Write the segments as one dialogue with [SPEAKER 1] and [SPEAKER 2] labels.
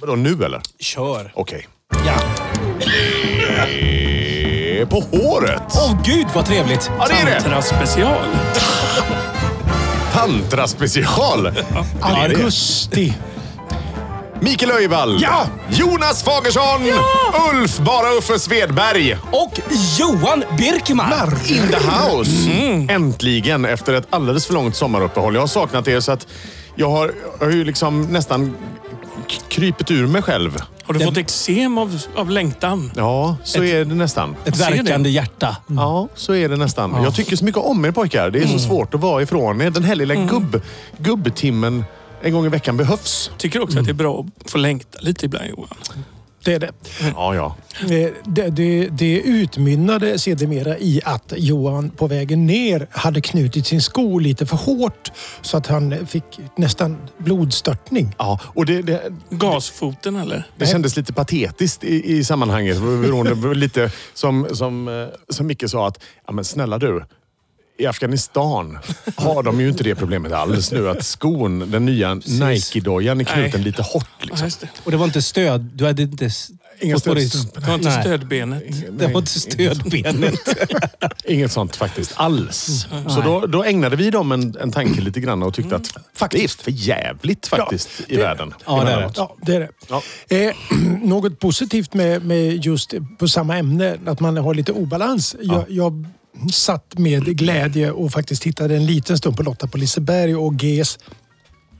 [SPEAKER 1] Vadå, nu eller?
[SPEAKER 2] Kör.
[SPEAKER 1] Okej.
[SPEAKER 2] Ja.
[SPEAKER 1] Eh, På håret!
[SPEAKER 2] Åh gud vad trevligt!
[SPEAKER 1] Ja, det är det!
[SPEAKER 3] Tantra special.
[SPEAKER 1] Tantra special! Ja, det är det.
[SPEAKER 2] Augusti.
[SPEAKER 1] Mikael Öjvall.
[SPEAKER 2] Ja!
[SPEAKER 1] Jonas Fagersson. Ulf Bara Uffe Svedberg.
[SPEAKER 2] Och Johan Birkman.
[SPEAKER 1] In the house. Mm. Äntligen efter ett alldeles för långt sommaruppehåll. Jag har saknat er så att jag har, jag har ju liksom nästan k- krypit ur mig själv.
[SPEAKER 3] Har du fått eksem av, av längtan?
[SPEAKER 1] Ja, så är det Mm. nästan.
[SPEAKER 2] Ett
[SPEAKER 3] Ser ni?
[SPEAKER 2] verkande hjärta.
[SPEAKER 1] Ja, Mm. så är det nästan. Jag tycker så mycket om er pojkar. Det är så svårt att vara ifrån er. Den här lilla gubb, gubbtimmen en gång i veckan behövs.
[SPEAKER 3] Tycker också att det är bra att få längta lite ibland Johan.
[SPEAKER 4] Det är det.
[SPEAKER 1] Ja, ja.
[SPEAKER 4] Eh, Det, det, det utmynnade sedermera i att Johan på vägen ner hade knutit sin sko lite för hårt så att han fick nästan blodstörtning.
[SPEAKER 1] ja. Och det, det,
[SPEAKER 3] Gasfoten eller?
[SPEAKER 1] Det kändes lite patetiskt i, i sammanhanget. Beroende på lite som, som, eh, som Micke sa att, ja men snälla du. I Afghanistan har de ju inte det problemet alls nu att skon, den nya Nike-dojan är knuten
[SPEAKER 3] Nej.
[SPEAKER 1] lite hårt.
[SPEAKER 3] Ja,
[SPEAKER 1] Liksom.
[SPEAKER 3] just det.
[SPEAKER 2] Och det var inte stöd. Du hade inte... s-
[SPEAKER 1] Inga
[SPEAKER 2] fått på dig-
[SPEAKER 1] stödstrumpor.
[SPEAKER 3] Det var inte
[SPEAKER 2] Nej,
[SPEAKER 3] stödbenet.
[SPEAKER 2] Det var inte stödbenet.
[SPEAKER 1] Inget sånt faktiskt alls. Så då, då ägnade vi dem en, en tanke lite grann och tyckte att faktiskt. det är för jävligt faktiskt i världen.
[SPEAKER 2] Ja, det är det.
[SPEAKER 4] Ja, det är det.
[SPEAKER 1] Ja.
[SPEAKER 4] Eh, något positivt med, med just på samma ämne, att man har lite obalans. Jag, jag satt med glädje och faktiskt tittade en liten stund på Lotta på Liseberg och GES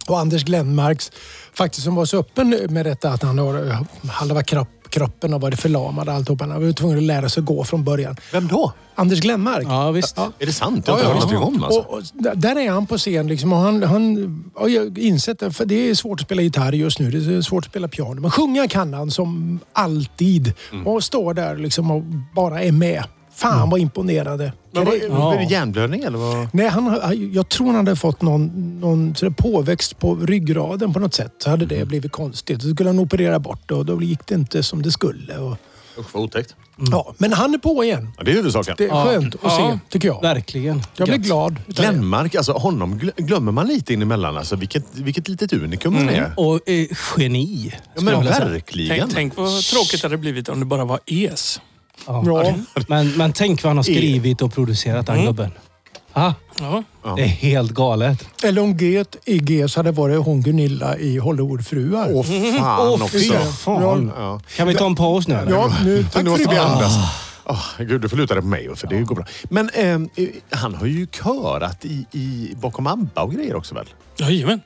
[SPEAKER 4] och Anders Glenmarks, faktiskt som var så öppen med detta att han har eh, halva kropp, kroppen och varit förlamad och alltihopa. Han var tvungen att lära sig att gå från början.
[SPEAKER 1] Vem då?
[SPEAKER 4] Anders Glenmark.
[SPEAKER 2] Ja, visst.
[SPEAKER 1] Är det sant? Jag har
[SPEAKER 4] Ja,
[SPEAKER 1] inte hört
[SPEAKER 4] ja.
[SPEAKER 1] någonting om alltså.
[SPEAKER 4] Och, och, d- där är han på scen liksom, och han, han har ju insett det. För det är svårt att spela gitarr just nu. Det är svårt att spela piano. Men sjunga kan han som alltid. Och står där liksom och bara är med. Fan vad imponerande.
[SPEAKER 1] Men vad,
[SPEAKER 2] Ja.
[SPEAKER 1] Blir det hjärnblödning eller? Vad?
[SPEAKER 4] Nej, han, har- jag tror han hade fått någon, någon sådär påväxt på ryggraden på något sätt. Så hade det blivit konstigt. Så skulle han operera bort det och då gick det inte som det skulle. Och,
[SPEAKER 1] Usch vad otäckt.
[SPEAKER 4] ja, men han är på igen.
[SPEAKER 1] Ja, det är huvudsaken.
[SPEAKER 4] Det är
[SPEAKER 2] Ja.
[SPEAKER 4] skönt att
[SPEAKER 3] Ja.
[SPEAKER 4] se, tycker jag.
[SPEAKER 2] Verkligen.
[SPEAKER 4] Jag blir
[SPEAKER 2] Gött.
[SPEAKER 4] glad. utav det.
[SPEAKER 1] Glenmark, alltså honom glö- glömmer man lite in emellan. Alltså, vilket, vilket litet unikum han är.
[SPEAKER 2] Och eh, geni.
[SPEAKER 1] Ja,
[SPEAKER 2] skulle jag
[SPEAKER 1] men
[SPEAKER 2] vilja säga.
[SPEAKER 1] verkligen.
[SPEAKER 3] Tänk, tänk vad tråkigt det hade blivit om det bara var es.
[SPEAKER 2] Ja. Men, men tänk vad han har skrivit och producerat, den gubben. Ah,
[SPEAKER 3] Ja.
[SPEAKER 2] Det är helt galet.
[SPEAKER 4] Eller om G i G så hade det varit hon Gunilla i Hollywoodfruar.
[SPEAKER 1] Åh fan
[SPEAKER 2] Mm. Åh,
[SPEAKER 1] också.
[SPEAKER 2] fy fan.
[SPEAKER 1] Ja.
[SPEAKER 2] Kan vi ta en paus nu? eller?
[SPEAKER 4] Ja, nu, tack
[SPEAKER 1] nu
[SPEAKER 4] för
[SPEAKER 1] måste vi
[SPEAKER 4] idag.
[SPEAKER 1] andas. Åh, Ah, gud, du får luta dig på mig för det går bra. Men ehm, eh, han har ju körat i, i bakom ABBA och grejer också väl?
[SPEAKER 3] Jajamän.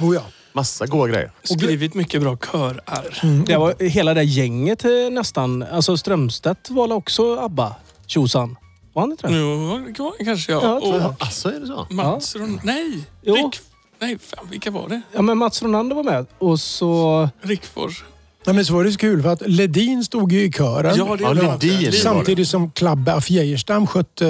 [SPEAKER 4] Oh, ja.
[SPEAKER 1] Massa goa grejer.
[SPEAKER 3] Skrivit mycket bra körar.
[SPEAKER 2] Det var hela det gänget eh, nästan. Alltså Strömstedt var väl också ABBA? Tjosan. Var han inte det?
[SPEAKER 3] Jo, k- kanske jag.
[SPEAKER 2] Ja, jag tror
[SPEAKER 3] och
[SPEAKER 2] det.
[SPEAKER 1] Alltså är det så?
[SPEAKER 3] Mats Ron... Nej!
[SPEAKER 2] Jo.
[SPEAKER 3] Rick... Nej, fan, vilka var det?
[SPEAKER 2] Ja, men Mats Ronander var med. Och så...
[SPEAKER 3] Rickfors.
[SPEAKER 4] Nej, men så var det så kul för att Ledin stod ju i kören.
[SPEAKER 3] Ja, det
[SPEAKER 1] Ja,
[SPEAKER 3] är bra.
[SPEAKER 1] Lundin.
[SPEAKER 3] Det är bra.
[SPEAKER 4] Samtidigt som Klabbe af Geijerstam skötte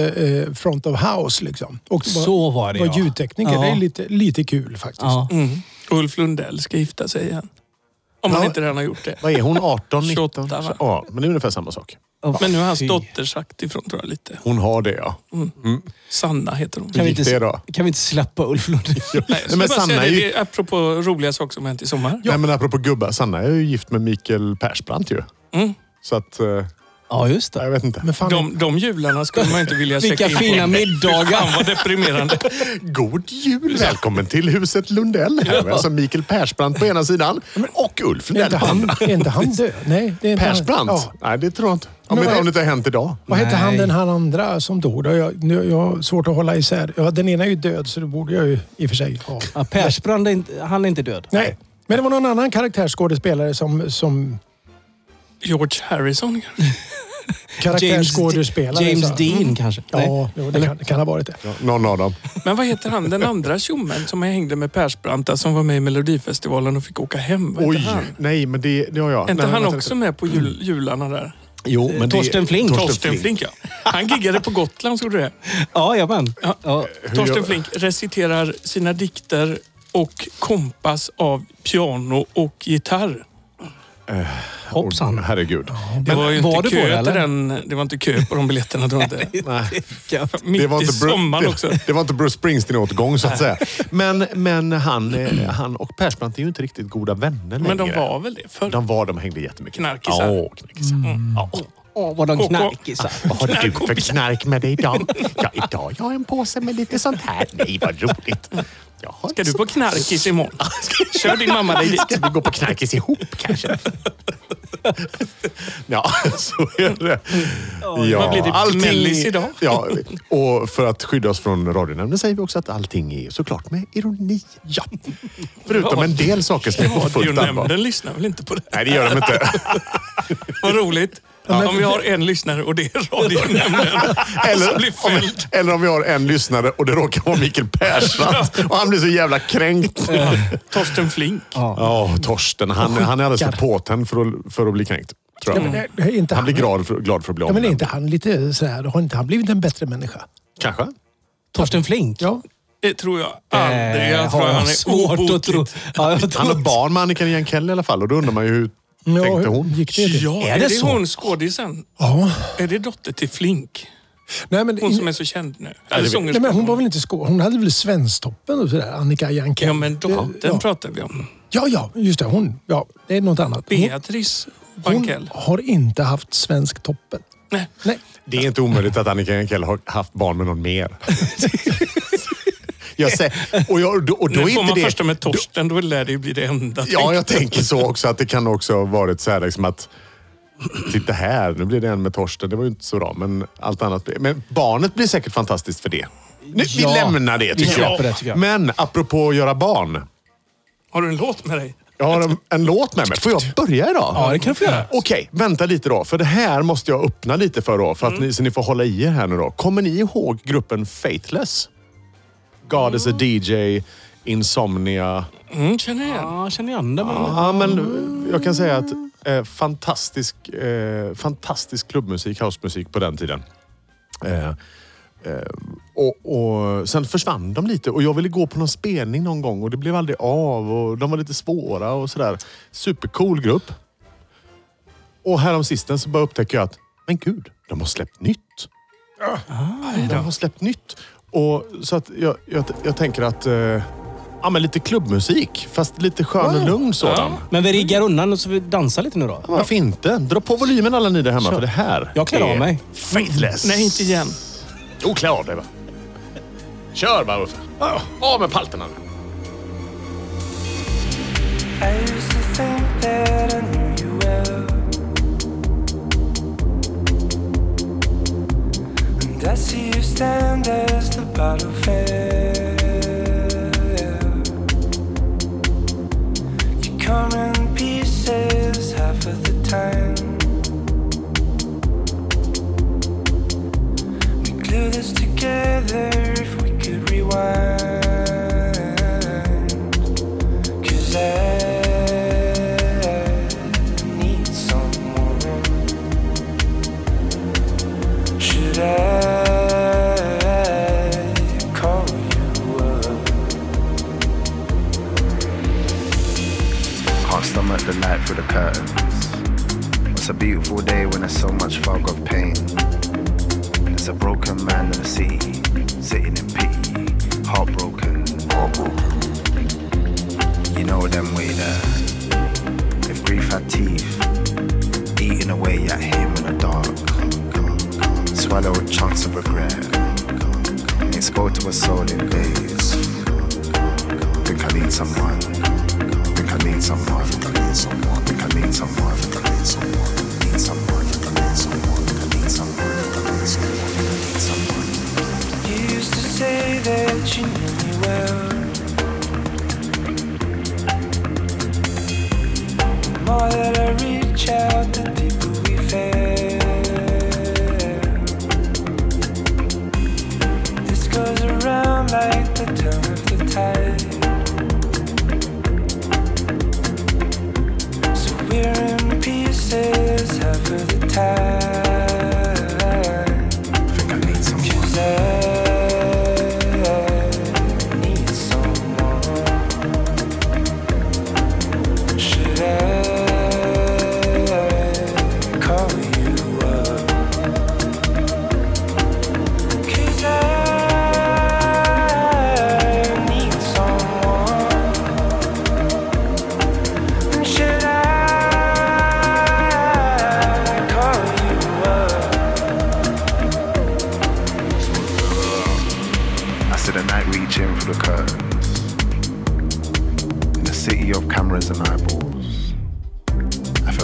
[SPEAKER 4] eh, Front of House. Liksom. Och
[SPEAKER 2] Så var det,
[SPEAKER 4] var
[SPEAKER 2] ja.
[SPEAKER 4] ljudtekniker.
[SPEAKER 2] Ja.
[SPEAKER 4] Det är lite, lite kul faktiskt.
[SPEAKER 2] Ja.
[SPEAKER 3] Mm. Ulf Lundell ska gifta sig igen. Om han
[SPEAKER 1] Ja.
[SPEAKER 3] inte redan har gjort det.
[SPEAKER 1] Vad är hon? 18, 19?
[SPEAKER 3] 28, va?
[SPEAKER 1] Ja, men det är ungefär samma sak.
[SPEAKER 3] Men nu har hans
[SPEAKER 2] Fy.
[SPEAKER 3] dotter sagt ifrån tror jag lite.
[SPEAKER 1] Hon har det ja.
[SPEAKER 3] Sanna heter hon.
[SPEAKER 2] Kan vi,
[SPEAKER 1] gick
[SPEAKER 2] inte,
[SPEAKER 1] det då?
[SPEAKER 2] kan vi inte släppa Ulf Lundin?
[SPEAKER 3] Nej,
[SPEAKER 1] men
[SPEAKER 3] men
[SPEAKER 1] Sanna
[SPEAKER 3] Sanna
[SPEAKER 1] är
[SPEAKER 3] säga,
[SPEAKER 1] ju-
[SPEAKER 3] det, det är apropå roliga saker som hänt i sommar.
[SPEAKER 1] Nej men apropå gubbar, Sanna är ju gift med Mikael Persbrandt ju.
[SPEAKER 3] Mm.
[SPEAKER 1] Så att, eh,
[SPEAKER 2] Ja, just
[SPEAKER 1] jag
[SPEAKER 2] det.
[SPEAKER 1] vet inte.
[SPEAKER 4] Men fan,
[SPEAKER 3] De, de jularna skulle man inte vilja checka
[SPEAKER 2] Vilka
[SPEAKER 3] in
[SPEAKER 2] fina
[SPEAKER 3] på.
[SPEAKER 2] middagar.
[SPEAKER 3] Fan vad deprimerande.
[SPEAKER 1] God jul! Välkommen till huset Lundell. Här alltså Mikael Persbrandt på ena sidan och Ulf
[SPEAKER 4] är,
[SPEAKER 1] Lundell
[SPEAKER 4] inte
[SPEAKER 1] på
[SPEAKER 4] han,
[SPEAKER 1] andra.
[SPEAKER 4] är inte han död? Nej, det är inte han.
[SPEAKER 1] Persbrandt?
[SPEAKER 4] Ja.
[SPEAKER 1] Nej, det tror jag inte. Om,
[SPEAKER 4] Men
[SPEAKER 1] inte,
[SPEAKER 4] vad-
[SPEAKER 1] om det inte har hänt idag.
[SPEAKER 4] Vad hette han
[SPEAKER 2] Nej.
[SPEAKER 4] den här andra som dog? då? Jag, nu, jag har svårt att hålla isär. Ja, den ena är ju död så det borde jag ju i och för sig ha.
[SPEAKER 2] Ja, Persbrand är inte, han är inte död.
[SPEAKER 4] Nej, men det var någon annan karaktärsskådespelare som, som
[SPEAKER 3] George Harrison kanske?
[SPEAKER 4] karaktärsskådespelare.
[SPEAKER 2] James
[SPEAKER 4] så.
[SPEAKER 2] Dean kanske? Nej.
[SPEAKER 4] Ja, jo, det kan, kan ha varit det.
[SPEAKER 1] Någon av dem.
[SPEAKER 3] Men vad heter han, den andra tjommen som jag hängde med Persbranta som var med i Melodifestivalen och fick åka hem? Vad heter
[SPEAKER 1] Oj,
[SPEAKER 3] han?
[SPEAKER 1] nej men det, det har jag.
[SPEAKER 3] Är inte
[SPEAKER 1] nej,
[SPEAKER 3] han
[SPEAKER 1] vänta lite.
[SPEAKER 3] också
[SPEAKER 1] Mm.
[SPEAKER 3] med på jul, jularna där?
[SPEAKER 1] Jo, men det-
[SPEAKER 2] Torsten Flink.
[SPEAKER 3] Torsten Flink ja. Han giggade på Gotland, såg du det?
[SPEAKER 2] Ja, jajamän. Ja.
[SPEAKER 3] Torsten
[SPEAKER 1] gör-
[SPEAKER 3] Flink reciterar sina dikter och kompas av piano och gitarr.
[SPEAKER 2] Hoppsan.
[SPEAKER 1] Och, herregud.
[SPEAKER 3] Det var ju inte
[SPEAKER 2] var du
[SPEAKER 3] kö
[SPEAKER 2] på det,
[SPEAKER 3] till
[SPEAKER 2] eller?
[SPEAKER 3] den. Det var inte kö på de biljetterna tror jag inte.
[SPEAKER 1] Nej.
[SPEAKER 3] Mitt i sommaren
[SPEAKER 1] det,
[SPEAKER 3] också.
[SPEAKER 1] Det var inte Bruce Springsteen-återgång så att säga. Men, men han, eh, han och Persbrandt är ju inte riktigt goda vänner längre.
[SPEAKER 3] Men de var väl det förr?
[SPEAKER 1] De var, de hängde jättemycket.
[SPEAKER 3] Knarkisar. Mm.
[SPEAKER 1] Ja, knarkisar. Ja.
[SPEAKER 2] Åh, vad de
[SPEAKER 3] Koko.
[SPEAKER 2] knarkisar.
[SPEAKER 1] Vad har du för
[SPEAKER 3] Knarkkompisar.
[SPEAKER 1] knark med dig idag? Ja, idag har jag en påse med lite sånt här. Nej, vad roligt. Jag har
[SPEAKER 3] Ska du
[SPEAKER 1] så-
[SPEAKER 3] på knarkis imorgon? Kör din mamma dig dit.
[SPEAKER 1] Ska vi gå på knarkis ihop kanske? ja, så är det.
[SPEAKER 3] vad blir det? Mellis idag?
[SPEAKER 1] ja, och för att skydda oss från radionämnden säger vi också att allting är såklart med ironi. Ja. Förutom en del saker som är på fullt allvar.
[SPEAKER 3] Radionämnden lyssnar väl inte på det?
[SPEAKER 1] Nej, det gör de inte.
[SPEAKER 3] Vad roligt. Om vi har en lyssnare och det är radionämnden som Alltså, blir
[SPEAKER 1] Eller om,
[SPEAKER 3] fälld.
[SPEAKER 1] eller om vi har en lyssnare och det råkar vara Mikael Persbrandt och han blir så jävla kränkt.
[SPEAKER 3] Torsten Flink.
[SPEAKER 1] Ja, Torsten. Han, han är alldeles för påtänd för att, för att bli kränkt. Tror jag.
[SPEAKER 4] Nej, det är inte han.
[SPEAKER 1] Han blir glad för, glad för att bli
[SPEAKER 4] Ja, men är
[SPEAKER 1] omnämnd.
[SPEAKER 4] inte han lite sådär, har inte han blivit en bättre människa?
[SPEAKER 1] Kanske.
[SPEAKER 2] Torsten Flink?
[SPEAKER 4] Ja.
[SPEAKER 3] Det tror jag aldrig.
[SPEAKER 2] Eh,
[SPEAKER 3] Jag tror han är obotlig.
[SPEAKER 2] Ja, jag
[SPEAKER 1] Han
[SPEAKER 2] tror
[SPEAKER 1] har
[SPEAKER 2] inte.
[SPEAKER 1] barn med Annika Jan Kell i alla fall och då undrar man ju hur
[SPEAKER 4] Ja,
[SPEAKER 1] tänkte
[SPEAKER 4] hur
[SPEAKER 1] hon?
[SPEAKER 4] Gick det till?
[SPEAKER 3] Ja,
[SPEAKER 2] Är
[SPEAKER 3] är
[SPEAKER 2] det
[SPEAKER 3] det
[SPEAKER 2] så?
[SPEAKER 3] hon skådisen?
[SPEAKER 4] Ja.
[SPEAKER 3] Är det dotter till Flink?
[SPEAKER 4] Nej, men,
[SPEAKER 3] Hon som är så känd nu.
[SPEAKER 4] nej,
[SPEAKER 3] Eller
[SPEAKER 4] men hon var
[SPEAKER 3] sångerskan.
[SPEAKER 4] väl inte skå... Hon hade väl Svensktoppen och sådär, Annika Jankell.
[SPEAKER 3] Ja, men dottern
[SPEAKER 4] ja.
[SPEAKER 3] pratar vi om.
[SPEAKER 4] ja, ja, just det. Hon. Ja, det är något annat. Hon,
[SPEAKER 3] Beatrice
[SPEAKER 4] hon
[SPEAKER 3] Bankell.
[SPEAKER 4] har inte haft Svensktoppen.
[SPEAKER 3] Nej.
[SPEAKER 4] Nej.
[SPEAKER 1] Det är inte omöjligt att Annika Jankell har haft barn med någon mer. jag säger, och, jag, och då
[SPEAKER 3] Nu
[SPEAKER 1] är
[SPEAKER 3] får
[SPEAKER 1] inte
[SPEAKER 3] man
[SPEAKER 1] det...
[SPEAKER 3] första med Torsten, då lär det ju bli det enda.
[SPEAKER 1] Ja, jag tänker så också. Att det kan också ha varit så här liksom att... Titta här, nu blir det en med Torsten. Det var ju inte så bra, men allt annat. blir- Men barnet blir säkert fantastiskt för det. Nu,
[SPEAKER 2] Ja,
[SPEAKER 1] vi lämnar det
[SPEAKER 2] vi
[SPEAKER 1] tycker, jag.
[SPEAKER 2] släpper det, tycker jag.
[SPEAKER 1] Men apropå att göra barn.
[SPEAKER 3] Har du en låt med dig?
[SPEAKER 1] Jag har en, en låt med mig. Får jag börja idag?
[SPEAKER 2] Ja, det kan du få göra.
[SPEAKER 1] Okej, vänta lite då. För det här måste jag öppna lite för då. För att ni, så ni får hålla i er här nu då. Kommer ni ihåg gruppen Faithless? God is a DJ, Insomnia.
[SPEAKER 3] Mm, känner jag igen.
[SPEAKER 2] Ja, jag känner igen det. Men...
[SPEAKER 1] Ja, men jag kan säga att eh, fantastisk, eh, fantastisk klubbmusik, housemusik på den tiden. Eh, eh, och, och Sen försvann de lite och jag ville gå på någon spelning någon gång och det blev aldrig av. Och de var lite svåra och sådär. Supercool grupp. Och häromsistens så bara upptäcker jag att, men gud, de har släppt nytt. De har släppt nytt. Och så att jag, jag, jag tänker att eh, ja, men lite klubbmusik, fast lite skön och lugn sådan.
[SPEAKER 2] Men vi riggar undan och så vi dansar lite nu då.
[SPEAKER 1] Varför inte? Dra på volymen alla ni där hemma, för det här
[SPEAKER 2] Jag klär
[SPEAKER 1] är
[SPEAKER 2] av mig.
[SPEAKER 1] Faithless.
[SPEAKER 3] Nej, inte igen.
[SPEAKER 1] Jo, klä av dig. Va? Kör bara, Uffe. Av med palterna nu.
[SPEAKER 5] I used to think that I knew you well, and I see you stand as the battle fell. You come in pieces half of the time. We glue this together if we could rewind. Cause I need someone. Should I call you up?
[SPEAKER 6] Can't stomach the light through the curtains. It's a beautiful day when there's so much fog of pain. There's a broken man in the city, sitting in pity, heartbroken, heartbroken. You know them way there. If grief had teeth, eating away at him in the dark. Swallow a chance of regret. It's go to a soul in days. Think I need someone. Think I need someone. Think I need someone. Think I need someone. Think I need someone. Need someone. Think I need someone. Think I need someone. Think I need someone. Think I need someone.
[SPEAKER 5] You used to say that you knew me well. The more that I reach out, the deeper we fell. This goes around like the turn of the tide.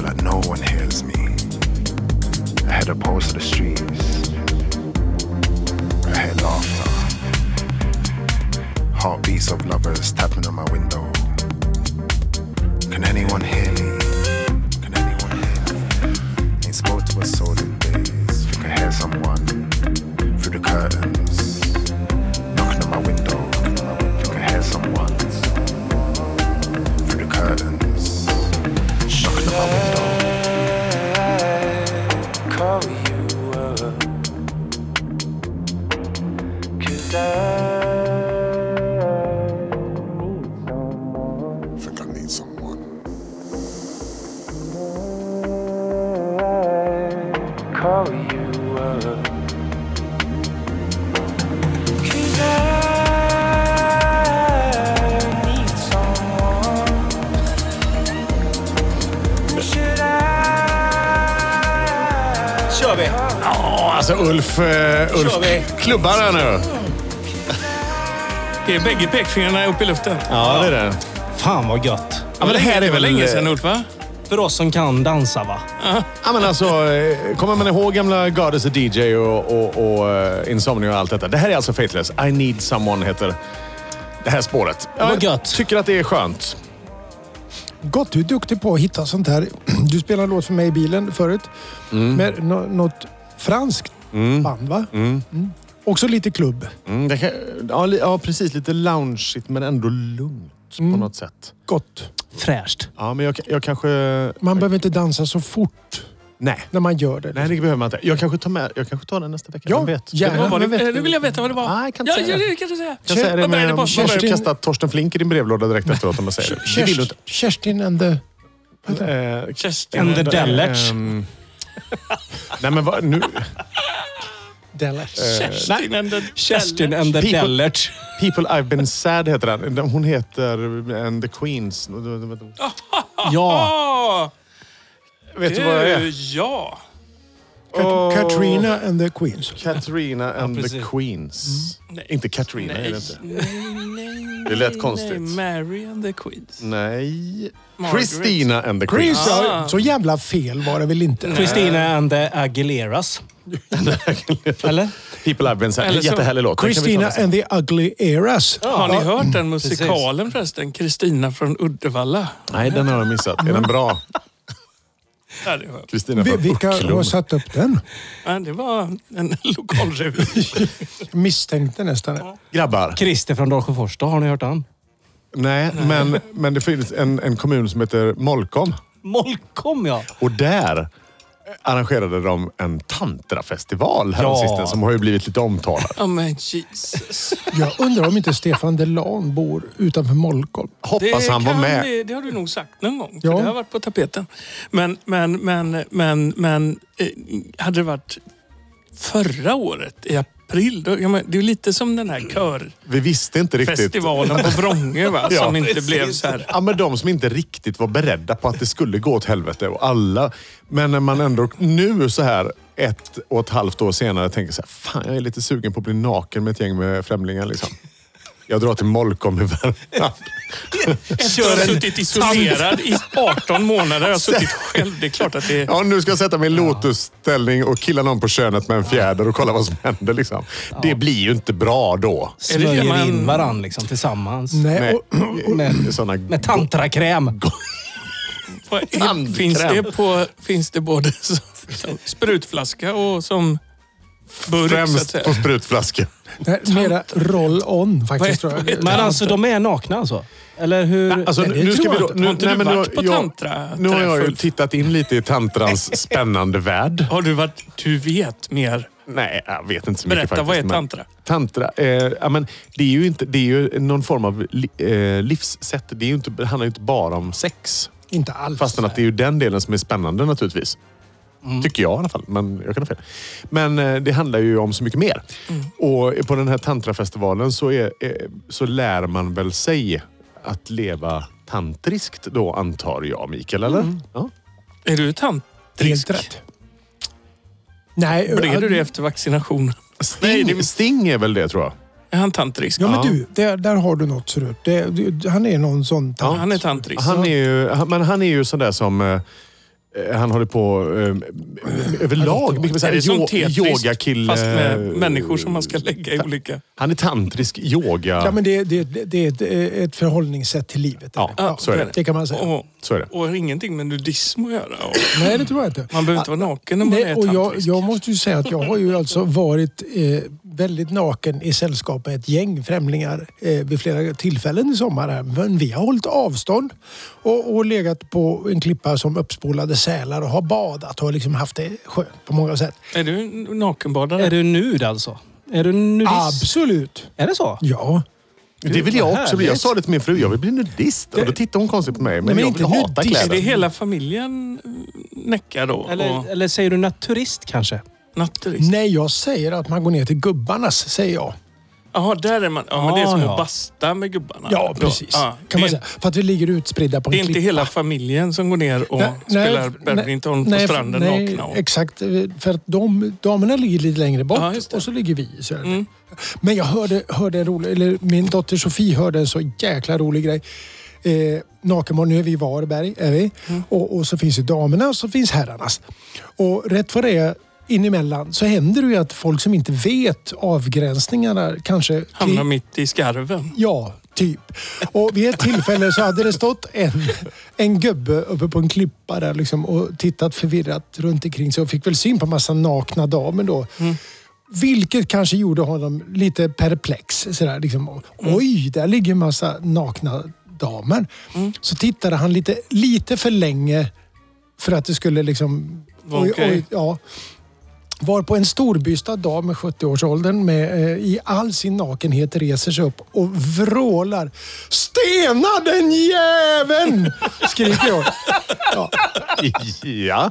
[SPEAKER 6] but no one hears me. I head a pulse of the streets. I hear laughter. Heartbeats of lovers tapping on my window. Can anyone hear me? Can anyone hear me? Ain't spoke to a soul in days. Think I hear someone through the curtains. Knocking on my window. Think I hear someone through the curtains. Knocking on my window.
[SPEAKER 5] Call you up. Cause I need someone.
[SPEAKER 6] Think I need someone.
[SPEAKER 5] Call you up. Cause I need someone. Should I?
[SPEAKER 2] kör vi!
[SPEAKER 1] Ja, alltså Ulf, eh,
[SPEAKER 2] Kör vi.
[SPEAKER 1] Ulf klubbar här nu.
[SPEAKER 3] Det är bägge pekfingrarna upp i luften.
[SPEAKER 1] Ja, det är det.
[SPEAKER 2] Fan vad gött!
[SPEAKER 1] Ja, men det här är
[SPEAKER 3] var
[SPEAKER 1] väl...
[SPEAKER 3] länge sedan Ulf, va?
[SPEAKER 2] För oss som kan dansa va?
[SPEAKER 1] Ja, men alltså, eh, kommer man ihåg gamla Goddess och DJ och, och, och eh, Insomnia och allt detta? Det här är alltså Faithless. I need someone heter det här spåret.
[SPEAKER 2] Vad gött.
[SPEAKER 1] tycker att det är skönt.
[SPEAKER 4] Gott, du är duktig på att hitta sånt här. Du spelade en låt för mig i bilen förut.
[SPEAKER 1] Mm.
[SPEAKER 4] Med nå- något franskt band, va? Mm. Också lite klubb.
[SPEAKER 1] Mm, det kan, ja, li, ja, precis. Lite loungeigt men ändå lugnt på något sätt.
[SPEAKER 4] Gott.
[SPEAKER 2] Fräscht.
[SPEAKER 1] Ja, men jag, jag kanske...
[SPEAKER 4] Man behöver inte dansa så fort
[SPEAKER 1] Nej.
[SPEAKER 4] när man gör det.
[SPEAKER 1] Nej, det behöver man inte. Jag kanske tar, med, jag kanske tar den nästa vecka.
[SPEAKER 4] Ja,
[SPEAKER 1] Vem vet?
[SPEAKER 4] gärna.
[SPEAKER 1] Kan
[SPEAKER 3] Vad var
[SPEAKER 4] men vet
[SPEAKER 3] det? Eh,
[SPEAKER 4] du-
[SPEAKER 3] Nu vill jag veta vad det var.
[SPEAKER 1] Nej, jag kan inte
[SPEAKER 3] ja,
[SPEAKER 1] säga
[SPEAKER 3] ja,
[SPEAKER 1] det.
[SPEAKER 3] det kan du säga.
[SPEAKER 1] jag säga det
[SPEAKER 3] Vad började
[SPEAKER 1] med,
[SPEAKER 3] på? Vad började
[SPEAKER 4] Kerstin-
[SPEAKER 1] Kerstin... kasta Torsten Flink i din brevlåda direkt efteråt om jag säger det. det. vill du
[SPEAKER 4] Kerst,
[SPEAKER 1] inte.
[SPEAKER 4] Kerstin and the...
[SPEAKER 1] Eh,
[SPEAKER 3] Kerstin.
[SPEAKER 2] And the Dellerts.
[SPEAKER 1] Ehm, Nej, men vad, nu...
[SPEAKER 4] Dallas.
[SPEAKER 1] Eh,
[SPEAKER 3] Kerstin and the
[SPEAKER 2] Kerstin
[SPEAKER 3] Dellert.
[SPEAKER 2] and the
[SPEAKER 1] People-
[SPEAKER 2] Dellert.
[SPEAKER 1] People I've been sad heter den. Den- Hon heter eh, The Queens.
[SPEAKER 2] Ja.
[SPEAKER 3] Ja,
[SPEAKER 1] Vet du vad det
[SPEAKER 3] du,
[SPEAKER 1] är?
[SPEAKER 3] Eh, ja.
[SPEAKER 4] Kat- Katrina and the Queens.
[SPEAKER 1] Katrina and the
[SPEAKER 2] precis.
[SPEAKER 1] Queens.
[SPEAKER 3] Mm.
[SPEAKER 1] Inte Katrina är det inte.
[SPEAKER 3] inte.
[SPEAKER 1] Det lät konstigt.
[SPEAKER 3] Mary and the Queens.
[SPEAKER 1] Nej.
[SPEAKER 3] Margaret.
[SPEAKER 1] Christina and the
[SPEAKER 4] Chris,
[SPEAKER 1] Queens.
[SPEAKER 4] ja,
[SPEAKER 3] Ah.
[SPEAKER 4] så jävla fel var det väl
[SPEAKER 1] Mm.
[SPEAKER 4] inte?
[SPEAKER 2] Christina and the Aguileras. Eller?
[SPEAKER 1] People I've been sad.
[SPEAKER 3] Eller så-
[SPEAKER 1] Jättehärlig låt. Den kan vi ta
[SPEAKER 4] Christina
[SPEAKER 1] nästa.
[SPEAKER 4] and the Ugly Eras.
[SPEAKER 3] Har ni hört
[SPEAKER 1] Mm,
[SPEAKER 3] den
[SPEAKER 2] precis.
[SPEAKER 3] musikalen förresten? Kristina från Uddevalla.
[SPEAKER 1] Nej, den har jag missat. Är den bra?
[SPEAKER 3] Ja, det, var,
[SPEAKER 1] Kristina
[SPEAKER 4] Vi-
[SPEAKER 1] från
[SPEAKER 4] Vilka har
[SPEAKER 1] Ucklum.
[SPEAKER 4] satt upp den?
[SPEAKER 3] ja, det var en lokalrevy.
[SPEAKER 4] Misstänkte nästan det.
[SPEAKER 1] Grabbar.
[SPEAKER 2] Christer från Dalsjöfors. Då har ni hört han?
[SPEAKER 1] Nej, men, men det finns en, en kommun som heter Molkom.
[SPEAKER 2] Molkom ja.
[SPEAKER 1] Och där arrangerade de en tantrafestival häromsistens
[SPEAKER 2] Ja.
[SPEAKER 1] som har ju blivit lite omtalad.
[SPEAKER 3] Ja, men Jesus.
[SPEAKER 4] Jag undrar om inte Stefan Delan bor utanför Molkom.
[SPEAKER 1] Hoppas han var
[SPEAKER 3] kan
[SPEAKER 1] med.
[SPEAKER 3] ni- det har du nog sagt någon gång. För
[SPEAKER 4] Ja.
[SPEAKER 3] Det har varit på tapeten. Men, men, men, men, men eh, hade det varit förra året i april, då, ja, men, det är ju lite som den här
[SPEAKER 1] Vi visste inte Mm. riktigt.
[SPEAKER 3] körfestivalen på Vrångö va?
[SPEAKER 1] Ja,
[SPEAKER 3] som inte
[SPEAKER 1] precis.
[SPEAKER 3] blev så här.
[SPEAKER 1] Ja, men de som inte riktigt var beredda på att det skulle gå åt helvete och alla. Men när man ändå nu så här ett och ett halvt år senare tänker så här, fan jag är lite sugen på att bli naken med ett gäng med främlingar liksom. Jag drar till Molkom i Värmland.
[SPEAKER 3] Efter att ha suttit isolerad i 18 månader har jag suttit själv. Det är klart att det är...
[SPEAKER 1] Ja, nu ska jag sätta mig i lotusställning och killa någon på könet med en fjäder och kolla vad som händer liksom. Det blir ju inte bra då.
[SPEAKER 3] Är det det
[SPEAKER 2] Smörjer
[SPEAKER 3] man-
[SPEAKER 2] in varan liksom tillsammans.
[SPEAKER 4] Nej,
[SPEAKER 1] Med,
[SPEAKER 4] och,
[SPEAKER 1] med såna
[SPEAKER 2] Med tantrakräm.
[SPEAKER 3] Vad är-
[SPEAKER 1] Tandkräm.
[SPEAKER 3] Finns det, på, finns det både som, som sprutflaska och som burk så att
[SPEAKER 1] främst
[SPEAKER 3] säga?
[SPEAKER 1] på sprutflaska.
[SPEAKER 4] nej, mera roll-on faktiskt.
[SPEAKER 3] Vad-
[SPEAKER 4] Tror jag.
[SPEAKER 2] Men alltså de är nakna alltså? Eller hur?
[SPEAKER 1] Alltså,
[SPEAKER 4] Nej, det
[SPEAKER 1] nu ska
[SPEAKER 4] tror
[SPEAKER 1] vi
[SPEAKER 4] jag
[SPEAKER 1] då,
[SPEAKER 4] inte.
[SPEAKER 1] nu,
[SPEAKER 3] Har inte du
[SPEAKER 1] nu,
[SPEAKER 3] varit på tantra-
[SPEAKER 1] nu har jag ju
[SPEAKER 3] träff?
[SPEAKER 1] tittat in lite i tantrans spännande värld.
[SPEAKER 3] Har du varit... Du vet mer.
[SPEAKER 1] Nej, jag vet inte så mycket
[SPEAKER 3] Berätta,
[SPEAKER 1] faktiskt.
[SPEAKER 3] vad är
[SPEAKER 1] men-
[SPEAKER 3] tantra?
[SPEAKER 1] Tantra, eh, ja, men det, är ju inte, det är ju någon form av li, eh, livssätt. Det, är ju inte, det handlar ju inte bara om sex.
[SPEAKER 4] Inte alls.
[SPEAKER 1] Fastän att det är ju den delen som är spännande naturligtvis.
[SPEAKER 3] Mm.
[SPEAKER 1] Tycker jag i alla fall, men jag kan ha fel. Men eh, det handlar ju om så mycket mer.
[SPEAKER 3] Mm.
[SPEAKER 1] Och på den här tantrafestivalen så, är, eh, så lär man väl sig att leva tantriskt då, antar jag Mikael, eller?
[SPEAKER 3] Mm.
[SPEAKER 1] Ja.
[SPEAKER 3] Är du tant?
[SPEAKER 4] Helt rätt. Nej,
[SPEAKER 3] Blev
[SPEAKER 4] ja,
[SPEAKER 3] du det efter vaccinationen?
[SPEAKER 1] Sting, Sting är väl det tror jag.
[SPEAKER 3] Är han tantrisk?
[SPEAKER 4] Ja, men
[SPEAKER 1] Ja.
[SPEAKER 4] du, där, där har du något. Så du, det, du, han är någon sån...
[SPEAKER 3] Han är tantrisk.
[SPEAKER 1] Han är ju, han, men han är ju sån där som... eh, eh, han håller på eh, överlag. Mycket med så här
[SPEAKER 3] är det som
[SPEAKER 1] yo-
[SPEAKER 3] Tetris,
[SPEAKER 1] yogakille.
[SPEAKER 3] fast med människor som man ska lägga i olika...
[SPEAKER 1] Han är tantrisk yoga.
[SPEAKER 4] Ja, men det, det, det är ett, ett förhållningssätt till livet.
[SPEAKER 1] Ja, så är det.
[SPEAKER 4] Det kan man säga.
[SPEAKER 3] Och,
[SPEAKER 1] Så är det.
[SPEAKER 3] och har ingenting med nudism att göra. Och
[SPEAKER 4] Nej, det tror jag inte.
[SPEAKER 3] man behöver inte vara naken när man
[SPEAKER 4] Nej,
[SPEAKER 3] är
[SPEAKER 4] och jag,
[SPEAKER 3] tantrisk.
[SPEAKER 4] jag måste ju säga att jag har ju alltså varit eh, väldigt naken i sällskap med ett gäng främlingar eh, vid flera tillfällen i sommar. Här. Men vi har hållit avstånd och, och legat på en klippa som uppspolade sälar och har badat och har liksom haft det skönt på många sätt.
[SPEAKER 3] Är du en nakenbadare?
[SPEAKER 2] Är du nud alltså? Är du nudist?
[SPEAKER 4] Absolut!
[SPEAKER 2] Är det så?
[SPEAKER 4] Ja.
[SPEAKER 1] Det vill jag
[SPEAKER 2] vad
[SPEAKER 1] också bli. Jag
[SPEAKER 2] härligt.
[SPEAKER 1] sa det till min fru, jag vill bli nudist. Och då tittade hon konstigt på mig. Men,
[SPEAKER 4] Nej, men
[SPEAKER 1] jag
[SPEAKER 4] inte
[SPEAKER 1] vill hata
[SPEAKER 4] nudist,
[SPEAKER 3] är det
[SPEAKER 1] kläder.
[SPEAKER 3] hela familjen Näcka då?
[SPEAKER 2] Eller,
[SPEAKER 3] och
[SPEAKER 2] eller säger du naturist kanske?
[SPEAKER 3] naturist?
[SPEAKER 4] Nej, jag säger att man går ner till gubbarnas, säger jag.
[SPEAKER 3] Jaha, där är man. Ja, men det är
[SPEAKER 2] Ja,
[SPEAKER 3] som
[SPEAKER 2] ja.
[SPEAKER 3] att basta med gubbarna.
[SPEAKER 4] Ja,
[SPEAKER 3] då.
[SPEAKER 4] precis.
[SPEAKER 3] Ja,
[SPEAKER 4] kan man
[SPEAKER 3] det,
[SPEAKER 4] säga. För att vi ligger utspridda på en
[SPEAKER 3] det är inte
[SPEAKER 4] klippa.
[SPEAKER 3] hela familjen som går ner och
[SPEAKER 4] Nej, nej,
[SPEAKER 3] spelar
[SPEAKER 4] nej,
[SPEAKER 3] badminton på
[SPEAKER 4] nej,
[SPEAKER 3] stranden
[SPEAKER 4] nej, eh,
[SPEAKER 3] nakna. Och,
[SPEAKER 4] Exakt, för att de, damerna ligger lite längre bort
[SPEAKER 3] Ja, just det.
[SPEAKER 4] och så ligger vi i söder.
[SPEAKER 3] Mm.
[SPEAKER 4] Men jag hörde, hörde en rolig, eller min dotter Sofie hörde en så jäkla rolig grej. Eh, Nakenbarn, nu är vi i Varberg, är vi.
[SPEAKER 3] Mm.
[SPEAKER 4] Och, och så finns ju damerna och så finns herrarnas. Och rätt vad det är inemellan så händer det ju att folk som inte vet avgränsningarna kanske
[SPEAKER 3] hamnar mitt i skarven.
[SPEAKER 4] Ja, typ. Och vid ett tillfälle så hade det stått en, en gubbe uppe på en klippa där liksom och tittat förvirrat runt omkring sig och fick väl syn på en massa nakna damer då. Vilket kanske gjorde honom lite perplex. Sådär, liksom. Och, Oj, där ligger en massa nakna damer. Så tittade han lite, lite för länge för att det skulle liksom...
[SPEAKER 3] Vara okej.
[SPEAKER 4] ja. Var på en storbystad dam med 70-årsåldern med, eh, i all sin nakenhet reser sig upp och vrålar. Stena den jäveln! Skriker hon. Ja,
[SPEAKER 1] Ja.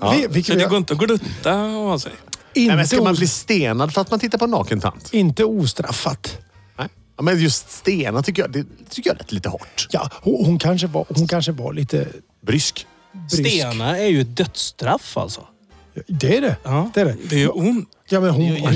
[SPEAKER 4] ja, vi, vilket
[SPEAKER 3] Så det
[SPEAKER 4] vi-
[SPEAKER 3] går inte att glutta och ha sig.
[SPEAKER 1] Nej, men ska
[SPEAKER 4] inte,
[SPEAKER 1] man
[SPEAKER 4] os-
[SPEAKER 1] bli stenad för att man tittar på en naken tant?
[SPEAKER 4] inte ostraffat.
[SPEAKER 1] Nej. Ja, men just stena tycker jag, det tycker jag lät lite hårt.
[SPEAKER 4] Ja, hon, hon, kanske var, hon kanske var lite
[SPEAKER 1] Brysk.
[SPEAKER 4] brysk.
[SPEAKER 2] Stena är ju ett dödsstraff alltså.
[SPEAKER 4] Det är det.
[SPEAKER 2] Ja.
[SPEAKER 4] det, är det.
[SPEAKER 3] Det är ju ont.
[SPEAKER 4] Ja, men hon, hon,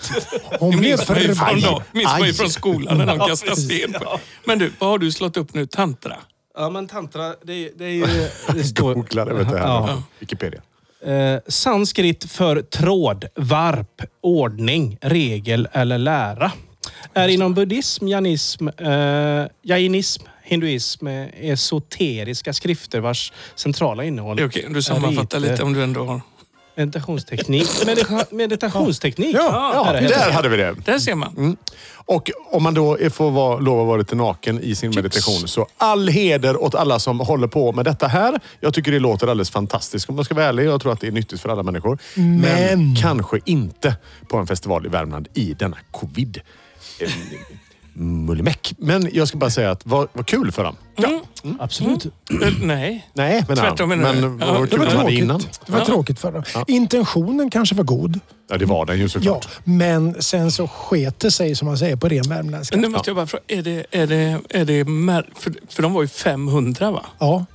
[SPEAKER 4] hon blev
[SPEAKER 3] Minns man ju från,
[SPEAKER 4] förbannad.
[SPEAKER 3] då, minns man
[SPEAKER 1] Aj.
[SPEAKER 3] ju från skolan när de kastade sten på. Men du, vad har du slått upp nu? Tantra?
[SPEAKER 2] Ja, men tantra, det, det är ju... Det
[SPEAKER 1] Googlade vet du, här.
[SPEAKER 2] Ja.
[SPEAKER 1] Wikipedia.
[SPEAKER 2] Eh, sanskrit för tråd, varp, ordning, regel eller lära. Är inom buddhism, janism, eh, jainism, hinduism eh, esoteriska skrifter vars centrala innehåll
[SPEAKER 3] Det är okej, du sammanfattar
[SPEAKER 2] är
[SPEAKER 3] lite
[SPEAKER 2] riter,
[SPEAKER 3] om du ändå har...
[SPEAKER 2] meditationsteknik. Medita- meditationsteknik.
[SPEAKER 1] Ja,
[SPEAKER 2] Där är det.
[SPEAKER 1] där hade vi det.
[SPEAKER 3] Där ser man.
[SPEAKER 1] Och om man då är- får vara, lov att vara lite naken i sin meditation så all heder åt alla som håller på med detta här. Jag tycker det låter alldeles fantastiskt om jag ska vara ärlig. Jag tror att det är nyttigt för alla människor. Men, kanske inte på en festival i Värmland i denna covid. Eh, Mullimäck. Men jag ska bara säga att vad, vad kul för dem.
[SPEAKER 3] Mm.
[SPEAKER 2] Absolut.
[SPEAKER 3] Eh, Nej.
[SPEAKER 1] Nej, men
[SPEAKER 3] Tvärtom menar du?
[SPEAKER 1] Men
[SPEAKER 3] Ja,
[SPEAKER 1] vad
[SPEAKER 3] det
[SPEAKER 1] kul
[SPEAKER 4] Det
[SPEAKER 1] de
[SPEAKER 4] var
[SPEAKER 1] hade innan.
[SPEAKER 4] tråkigt. Det var tråkigt för dem. Intentionen kanske var god.
[SPEAKER 1] Ja, det var den ju
[SPEAKER 4] Ja,
[SPEAKER 1] såklart.
[SPEAKER 4] men sen så sket det sig som man säger på ren värmländska.
[SPEAKER 3] Men nu måste jag bara fråga, är det... Är det, är det mär- för, för de var ju 500 va?
[SPEAKER 4] Ja,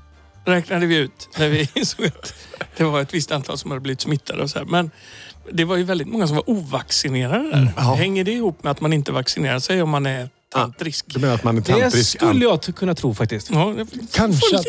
[SPEAKER 3] Räknade vi ut när vi insåg att det var ett visst antal som hade blivit smittade och så här. Men det var ju väldigt många som var ovaccinerade där.
[SPEAKER 4] Mm,
[SPEAKER 3] Hänger det ihop med att man inte vaccinerar sig om man är tantrisk?
[SPEAKER 1] Du menar att man är
[SPEAKER 2] Det
[SPEAKER 1] tantrisk?
[SPEAKER 2] skulle jag t- kunna tro faktiskt.
[SPEAKER 3] Ja, det-
[SPEAKER 4] Kanske
[SPEAKER 3] Jag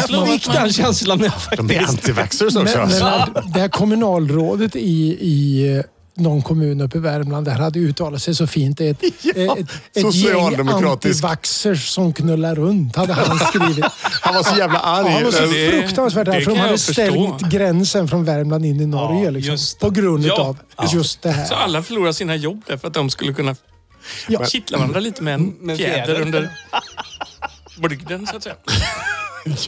[SPEAKER 3] får en
[SPEAKER 4] att-
[SPEAKER 3] liten känsla av
[SPEAKER 2] Jag
[SPEAKER 3] att
[SPEAKER 2] fick
[SPEAKER 3] man-
[SPEAKER 2] den känslan när jag
[SPEAKER 1] De är
[SPEAKER 2] faktiskt...
[SPEAKER 1] antivaxxers
[SPEAKER 4] Men,
[SPEAKER 1] också.
[SPEAKER 4] men
[SPEAKER 1] alltså.
[SPEAKER 4] att det här kommunalrådet i, i eh, någon kommun uppe i Värmland där hade uttalat sig så fint. Det är ett, eh, ett, ett gäng
[SPEAKER 1] socialdemokratisk.
[SPEAKER 4] antivaxxers som knullar runt, hade han skrivit.
[SPEAKER 1] Han var så jävla
[SPEAKER 4] Ja,
[SPEAKER 1] arg.
[SPEAKER 4] han var så
[SPEAKER 3] Det-
[SPEAKER 4] fruktansvärt
[SPEAKER 3] det
[SPEAKER 4] arg för de
[SPEAKER 3] kan
[SPEAKER 4] hade
[SPEAKER 3] jag förstå.
[SPEAKER 4] stängt gränsen från Värmland in i Norge.
[SPEAKER 2] Ja,
[SPEAKER 4] liksom,
[SPEAKER 2] just det.
[SPEAKER 4] på grund
[SPEAKER 3] Ja.
[SPEAKER 4] av just det
[SPEAKER 3] Så
[SPEAKER 4] här.
[SPEAKER 3] alla förlorar sina jobb där för att de skulle kunna
[SPEAKER 4] Ja. Mm,
[SPEAKER 3] kittla varandra lite med en
[SPEAKER 2] Med
[SPEAKER 3] fjäder
[SPEAKER 2] fjäder.
[SPEAKER 3] under brygden så att säga.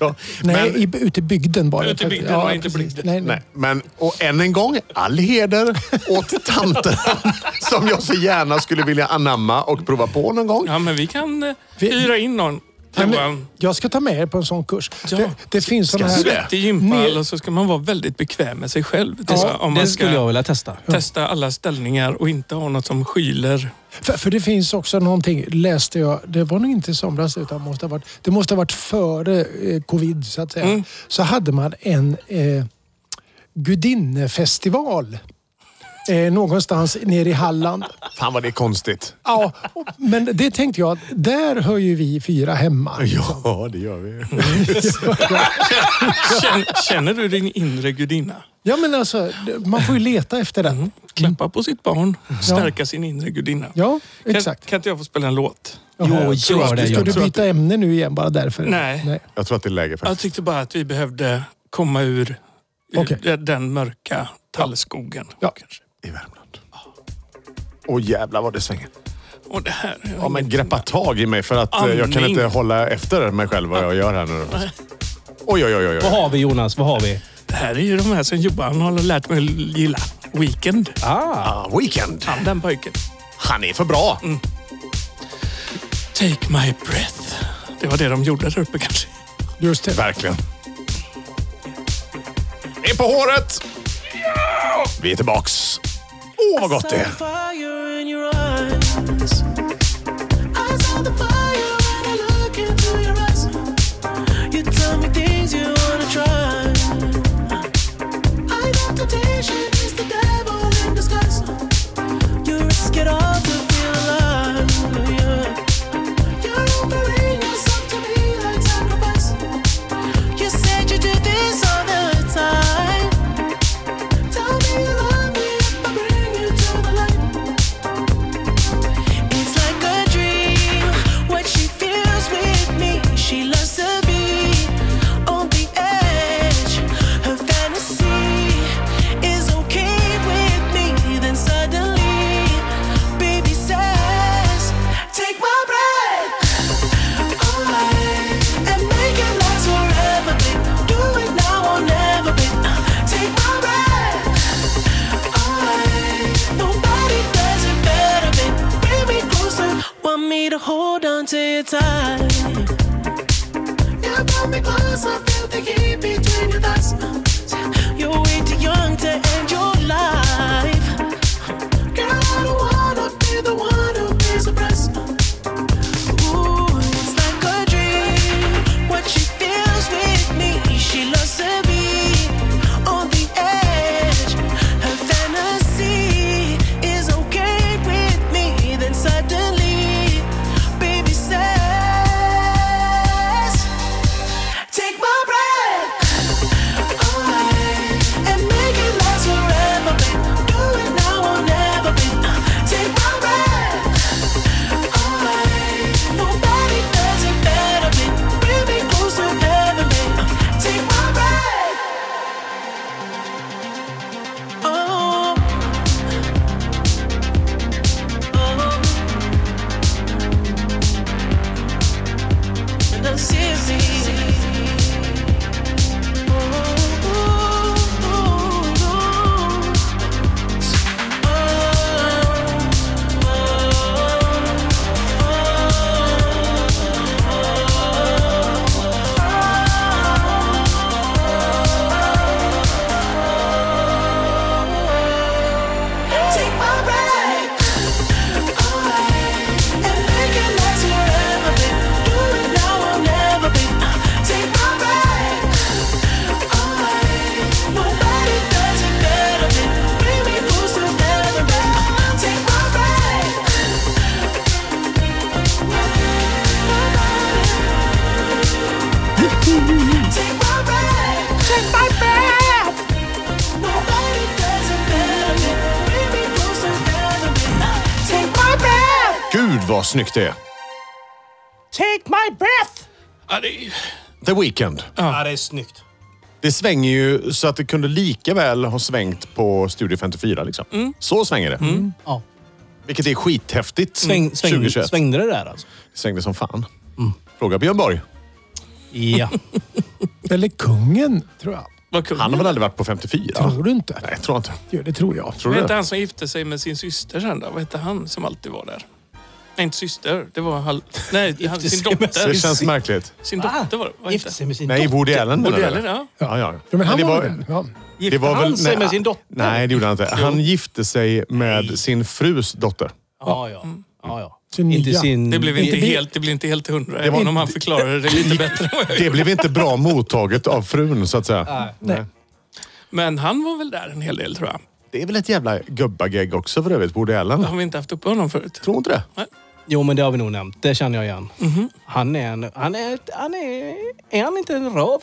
[SPEAKER 1] Ja,
[SPEAKER 4] Nej,
[SPEAKER 1] men,
[SPEAKER 4] i, ute i bygden bara.
[SPEAKER 3] Ute i bygden och inte
[SPEAKER 4] precis.
[SPEAKER 3] bygden.
[SPEAKER 4] Nej, nej.
[SPEAKER 1] nej, men, och än en gång, all heder åt tanterna som jag så gärna skulle vilja anamma och prova på någon gång.
[SPEAKER 3] Ja, men vi kan eh,
[SPEAKER 4] Vi-
[SPEAKER 3] hyra in någon.
[SPEAKER 4] Ja, men
[SPEAKER 3] Johan.
[SPEAKER 4] jag ska ta med er på en sån kurs.
[SPEAKER 3] Ja.
[SPEAKER 4] Det, det finns såna
[SPEAKER 1] du
[SPEAKER 4] här...
[SPEAKER 1] det?
[SPEAKER 3] Till gympahall och så ska man vara väldigt bekväm med sig själv. Det ska- om
[SPEAKER 2] Det
[SPEAKER 3] man ska
[SPEAKER 2] skulle jag vilja testa.
[SPEAKER 3] testa alla ställningar och inte ha något som skyler.
[SPEAKER 4] För, för det finns också någonting, läste jag, det var nog inte i somras utan måste ha varit, det måste ha varit före eh, covid så att säga.
[SPEAKER 3] Mm.
[SPEAKER 4] Så hade man en eh, gudinnefestival eh, någonstans nere i Halland.
[SPEAKER 1] Fan vad det är konstigt.
[SPEAKER 4] Ja, och- men det tänkte jag, att där hör ju vi fyra hemma.
[SPEAKER 1] Ja, det gör vi.
[SPEAKER 3] Känner, känner du din inre gudinna?
[SPEAKER 4] Ja, men alltså, man får ju leta efter
[SPEAKER 2] Mm.
[SPEAKER 4] den.
[SPEAKER 3] Klappa på sitt barn, stärka sin inre gudinna.
[SPEAKER 4] Ja,
[SPEAKER 3] Kan-
[SPEAKER 4] exakt.
[SPEAKER 3] Kan inte jag få spela en låt?
[SPEAKER 2] Jo, gör det.
[SPEAKER 4] Ska
[SPEAKER 2] Gör
[SPEAKER 4] du
[SPEAKER 2] det.
[SPEAKER 4] byta ämne nu igen bara därför?
[SPEAKER 3] Nej.
[SPEAKER 1] Jag tror att det är läge
[SPEAKER 3] Jag
[SPEAKER 1] faktiskt.
[SPEAKER 3] tyckte bara att vi behövde komma ur, ur
[SPEAKER 4] Okej.
[SPEAKER 3] den- den mörka tallskogen.
[SPEAKER 4] Ja.
[SPEAKER 3] Kanske.
[SPEAKER 1] I Värmland. Åh jävlar vad det svänger.
[SPEAKER 3] Och det här. jag
[SPEAKER 1] Ja,
[SPEAKER 3] vet
[SPEAKER 1] men
[SPEAKER 3] inte.
[SPEAKER 1] greppa tag i mig för att eh, jag kan
[SPEAKER 3] Andning.
[SPEAKER 1] inte hålla efter mig själv vad jag gör här nu. Oj, oj, oj. oj,
[SPEAKER 2] Vad
[SPEAKER 1] oj.
[SPEAKER 2] har vi Jonas? Vad har vi?
[SPEAKER 3] Det här är ju de här som Johan har lärt mig att gilla. Weekend.
[SPEAKER 2] Ah,
[SPEAKER 1] Ah, weekend.
[SPEAKER 3] Han den pojken.
[SPEAKER 1] Han är för bra.
[SPEAKER 3] Take my breath. Det var det de gjorde där uppe kanske.
[SPEAKER 4] Just det.
[SPEAKER 1] Verkligen. Det är på håret! Vi är tillbaks. Åh, vad gott det är.
[SPEAKER 7] fire in your eyes. I saw the fire when I look into your eyes. You tell me things you wanna try. I know temptation is the devil in disguise. You risk it all to feel alive. Yeah. You're offering yourself to me like sacrifice. You said you do this all the time. Tell me you love me if I bring you to the light. It's like a dream. What she feels with me, she loves to be on the edge. Her fantasy is okay with me. Then suddenly, baby says, Take my breath. I am making last forever, babe. Do it now or never, babe. Take my breath. Nobody does it better, babe. Bring me closer. Want me to hold on to you tight. You brought me closer. Feel the heat between your thighs. You're way too young to end your life. Girl, I don't wanna be the one who be surprised. Ooh, it's like a dream. What she feels with me, she loves to be on the edge. Her fantasy is okay with me. Then suddenly, baby says, "Take my breath." And make it last forever, babe. Do it now or never, babe. Take my breath. Nobody does it better, babe. Bring me closer, heaven, babe. Take my breath. Oh. Oh. Oh. And I'm serious. Take my breath. And make it last forever, babe. Do it now or never, babe. Take my breath. Nobody does it better, babe. Bring me closer, better, babe. Take my breath. Take my breath. Take my breath. Nobody does it better than we be closer than Take my breath.
[SPEAKER 1] Gud vad snyggt det är.
[SPEAKER 2] take my breath!
[SPEAKER 3] Ja, det är...
[SPEAKER 1] The Weeknd.
[SPEAKER 2] Ja, det är snyggt.
[SPEAKER 1] Det svänger ju så att det kunde lika väl ha svängt på Studio 54. Liksom.
[SPEAKER 2] Mm.
[SPEAKER 1] Så svänger det.
[SPEAKER 4] Mm.
[SPEAKER 2] Ja.
[SPEAKER 1] Vilket är skithäftigt.
[SPEAKER 2] Sväng, sväng,
[SPEAKER 1] 2021.
[SPEAKER 2] svängde det där alltså?
[SPEAKER 1] Svängde som fan.
[SPEAKER 4] Mm.
[SPEAKER 1] Fråga Björn Borg.
[SPEAKER 2] Ja.
[SPEAKER 4] Eller kungen, tror jag.
[SPEAKER 3] Vad kul.
[SPEAKER 1] Han har väl aldrig varit på 54?
[SPEAKER 4] Tror du inte?
[SPEAKER 1] Nej, jag tror inte.
[SPEAKER 4] Jo, det tror jag.
[SPEAKER 1] Tror
[SPEAKER 3] Var
[SPEAKER 1] du
[SPEAKER 3] inte
[SPEAKER 1] det?
[SPEAKER 3] han som gifte sig med sin syster sen då? Vad hette han som alltid var där? Nej, inte syster. Det var hal... Nej, han, sin
[SPEAKER 2] sig med
[SPEAKER 1] Det
[SPEAKER 3] dotter.
[SPEAKER 2] sin-
[SPEAKER 1] känns märkligt.
[SPEAKER 3] Sin
[SPEAKER 2] Ah,
[SPEAKER 3] dotter var det. Vad
[SPEAKER 2] Gifte
[SPEAKER 3] hette
[SPEAKER 2] sig med sin
[SPEAKER 1] Nej,
[SPEAKER 2] dotter.
[SPEAKER 1] Woody Allen menar
[SPEAKER 3] Woody
[SPEAKER 1] du?
[SPEAKER 3] Allen, ja.
[SPEAKER 1] Ja, ja.
[SPEAKER 4] Ja, men han
[SPEAKER 1] det
[SPEAKER 4] var väl- ja.
[SPEAKER 2] Gifte han sig med sin dotter?
[SPEAKER 1] Nej, det gjorde han inte. Han gifte sig med sin frus dotter.
[SPEAKER 2] Ja, ja. ja, ja.
[SPEAKER 4] Sin
[SPEAKER 2] Inte
[SPEAKER 4] nya.
[SPEAKER 2] sin...
[SPEAKER 3] Mm. Det blev inte
[SPEAKER 4] Det- det-
[SPEAKER 3] helt, det blev inte helt hundra, även om han förklarade det lite bättre än vad jag
[SPEAKER 1] Det blev inte bra mottaget av frun, så att säga.
[SPEAKER 2] Nej.
[SPEAKER 1] Nej.
[SPEAKER 3] Men han var väl där en hel del tror jag.
[SPEAKER 1] Det är väl ett jävla gubbagegg också för övrigt, bordellen?
[SPEAKER 3] Har vi inte haft uppe honom förut?
[SPEAKER 1] Tror inte det?
[SPEAKER 2] Jo, men det har vi nog nämnt. Det känner jag igen.
[SPEAKER 3] Mhm.
[SPEAKER 2] Han är en... Han är... Han är... Är han inte en röv?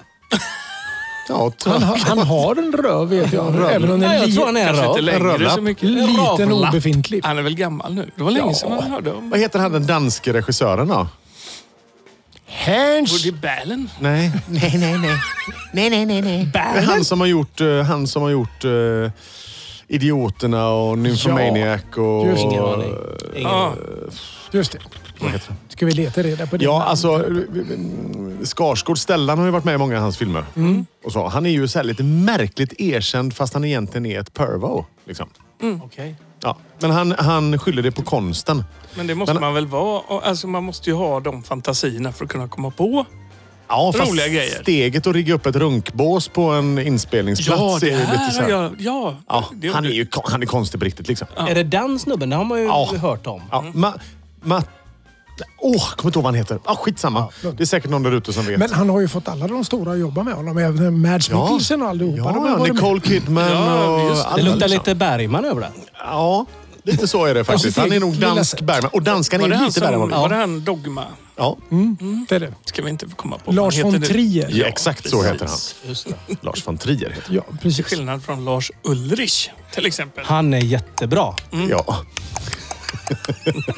[SPEAKER 1] Ja,
[SPEAKER 4] Han,
[SPEAKER 1] han,
[SPEAKER 4] har- han har en röv vet jag. Även om den
[SPEAKER 2] Nej,
[SPEAKER 4] är
[SPEAKER 2] jag
[SPEAKER 4] li-
[SPEAKER 2] tror han är en
[SPEAKER 3] Kanske inte
[SPEAKER 2] röv.
[SPEAKER 3] längre
[SPEAKER 1] rödlapp.
[SPEAKER 3] så mycket.
[SPEAKER 4] liten och
[SPEAKER 2] Ravlapp.
[SPEAKER 4] obefintlig.
[SPEAKER 3] Han är väl gammal nu? Det var länge sedan man hörde om
[SPEAKER 1] Vad heter han den danske regissören då?
[SPEAKER 4] Hans!
[SPEAKER 3] Woody Ballen.
[SPEAKER 1] Nej.
[SPEAKER 8] Nej, nej, nej. Nej, nej, nej, nej.
[SPEAKER 1] Det är han som har gjort, eh, han som har gjort eh, Idioterna och Nymphomaniac och...
[SPEAKER 4] just det.
[SPEAKER 2] Ingen aning. Ingen aning.
[SPEAKER 3] Ja,
[SPEAKER 4] Just det. Ska vi leta reda på det?
[SPEAKER 1] Ja, alltså... mm, Skarsgård, Stellan har ju varit med i många av hans filmer.
[SPEAKER 8] Mm.
[SPEAKER 1] Och så, han är ju så här lite märkligt erkänd fast han egentligen är ett pervo. Liksom.
[SPEAKER 2] Okej.
[SPEAKER 1] Ja. Men han, han skyller det på konsten.
[SPEAKER 3] men det måste
[SPEAKER 1] Men-
[SPEAKER 3] man väl vara. Och, Alltså, man måste ju ha de fantasierna för att kunna komma på.
[SPEAKER 1] Ja, fast
[SPEAKER 3] Roliga grejer.
[SPEAKER 1] steget att rigga upp ett runkbås på en inspelningsplats
[SPEAKER 3] Ja, det
[SPEAKER 1] är ju lite så
[SPEAKER 3] här har
[SPEAKER 1] här...
[SPEAKER 3] jag... Ja,
[SPEAKER 1] Ja,
[SPEAKER 3] det
[SPEAKER 1] han är
[SPEAKER 3] gjorde-
[SPEAKER 1] ju kon- han är konstig på riktigt liksom.
[SPEAKER 2] Är det den snubben? Det har man ju
[SPEAKER 1] Ja.
[SPEAKER 2] hört om.
[SPEAKER 1] Ja, ma, ma, åh, kommer inte ihåg vad han heter. Ah, skitsamma. det är säkert någon där ute som vet.
[SPEAKER 4] Men han har ju fått alla de stora att jobba med honom. Även Mads
[SPEAKER 1] Ja.
[SPEAKER 4] Mikkelsen och allihopa. de har
[SPEAKER 1] ja,
[SPEAKER 4] varit med.
[SPEAKER 1] Nicole Kidman
[SPEAKER 3] Ja,
[SPEAKER 1] och
[SPEAKER 3] just det.
[SPEAKER 1] alla,
[SPEAKER 2] Det luktar
[SPEAKER 1] liksom.
[SPEAKER 2] lite Bergman över det.
[SPEAKER 1] Ja, lite så är det faktiskt. Han är nog
[SPEAKER 4] Alltså, Lilla
[SPEAKER 1] dansk
[SPEAKER 4] sätt.
[SPEAKER 1] Bergman. Och danskan är
[SPEAKER 3] Var det,
[SPEAKER 1] ju
[SPEAKER 3] han
[SPEAKER 1] lite värre än
[SPEAKER 3] som, Mm.
[SPEAKER 1] honom.
[SPEAKER 3] var det han Dogma?
[SPEAKER 1] Ja,
[SPEAKER 4] Det är det.
[SPEAKER 3] Ska vi inte komma på.
[SPEAKER 4] Lars
[SPEAKER 3] Han heter
[SPEAKER 4] von
[SPEAKER 3] det-
[SPEAKER 4] Trier.
[SPEAKER 1] ja, exakt så heter han.
[SPEAKER 3] precis.
[SPEAKER 2] Just det.
[SPEAKER 1] Lars von Trier heter
[SPEAKER 4] Ja, precis.
[SPEAKER 3] Skillnad från Lars Ulrich till exempel.
[SPEAKER 2] Han är jättebra.
[SPEAKER 3] Mm.
[SPEAKER 1] han. Ja,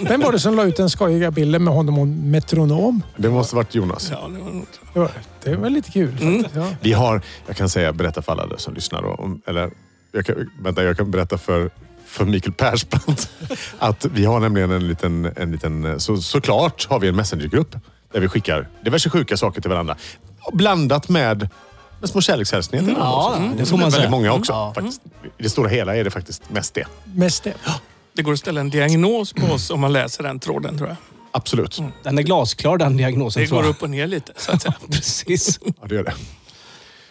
[SPEAKER 4] Vem var det som la ut den skojiga bilden med honom och metronom?
[SPEAKER 1] det måste varit Jonas.
[SPEAKER 3] Ja, det var nog...
[SPEAKER 4] Det var, det var lite kul.
[SPEAKER 3] Mm.
[SPEAKER 4] faktiskt. Ja.
[SPEAKER 1] Vi har, jag kan säga, berätta för alla som lyssnar. då, Om, eller, jag kan, vänta, jag kan berätta för, för Mikael Persbrandt att vi har nämligen en liten, en liten så, såklart har vi en messengergrupp där vi skickar diverse sjuka saker till varandra. Blandat med, med små kärlekshälsningar till varandra
[SPEAKER 2] Mm,
[SPEAKER 1] också.
[SPEAKER 2] Ja, det får
[SPEAKER 1] Som
[SPEAKER 2] man
[SPEAKER 1] är
[SPEAKER 2] säga.
[SPEAKER 1] väldigt många också.
[SPEAKER 2] Ja.
[SPEAKER 1] Faktiskt. I det stora hela är det faktiskt mest det.
[SPEAKER 4] Mest det.
[SPEAKER 3] Det går att ställa en diagnos på oss om man läser den tråden tror jag.
[SPEAKER 1] Absolut.
[SPEAKER 2] Den är glasklar den diagnosen
[SPEAKER 3] Det
[SPEAKER 2] tror
[SPEAKER 3] går
[SPEAKER 2] jag.
[SPEAKER 3] upp och ner lite så att säga.
[SPEAKER 2] Precis.
[SPEAKER 1] Ja, det gör det.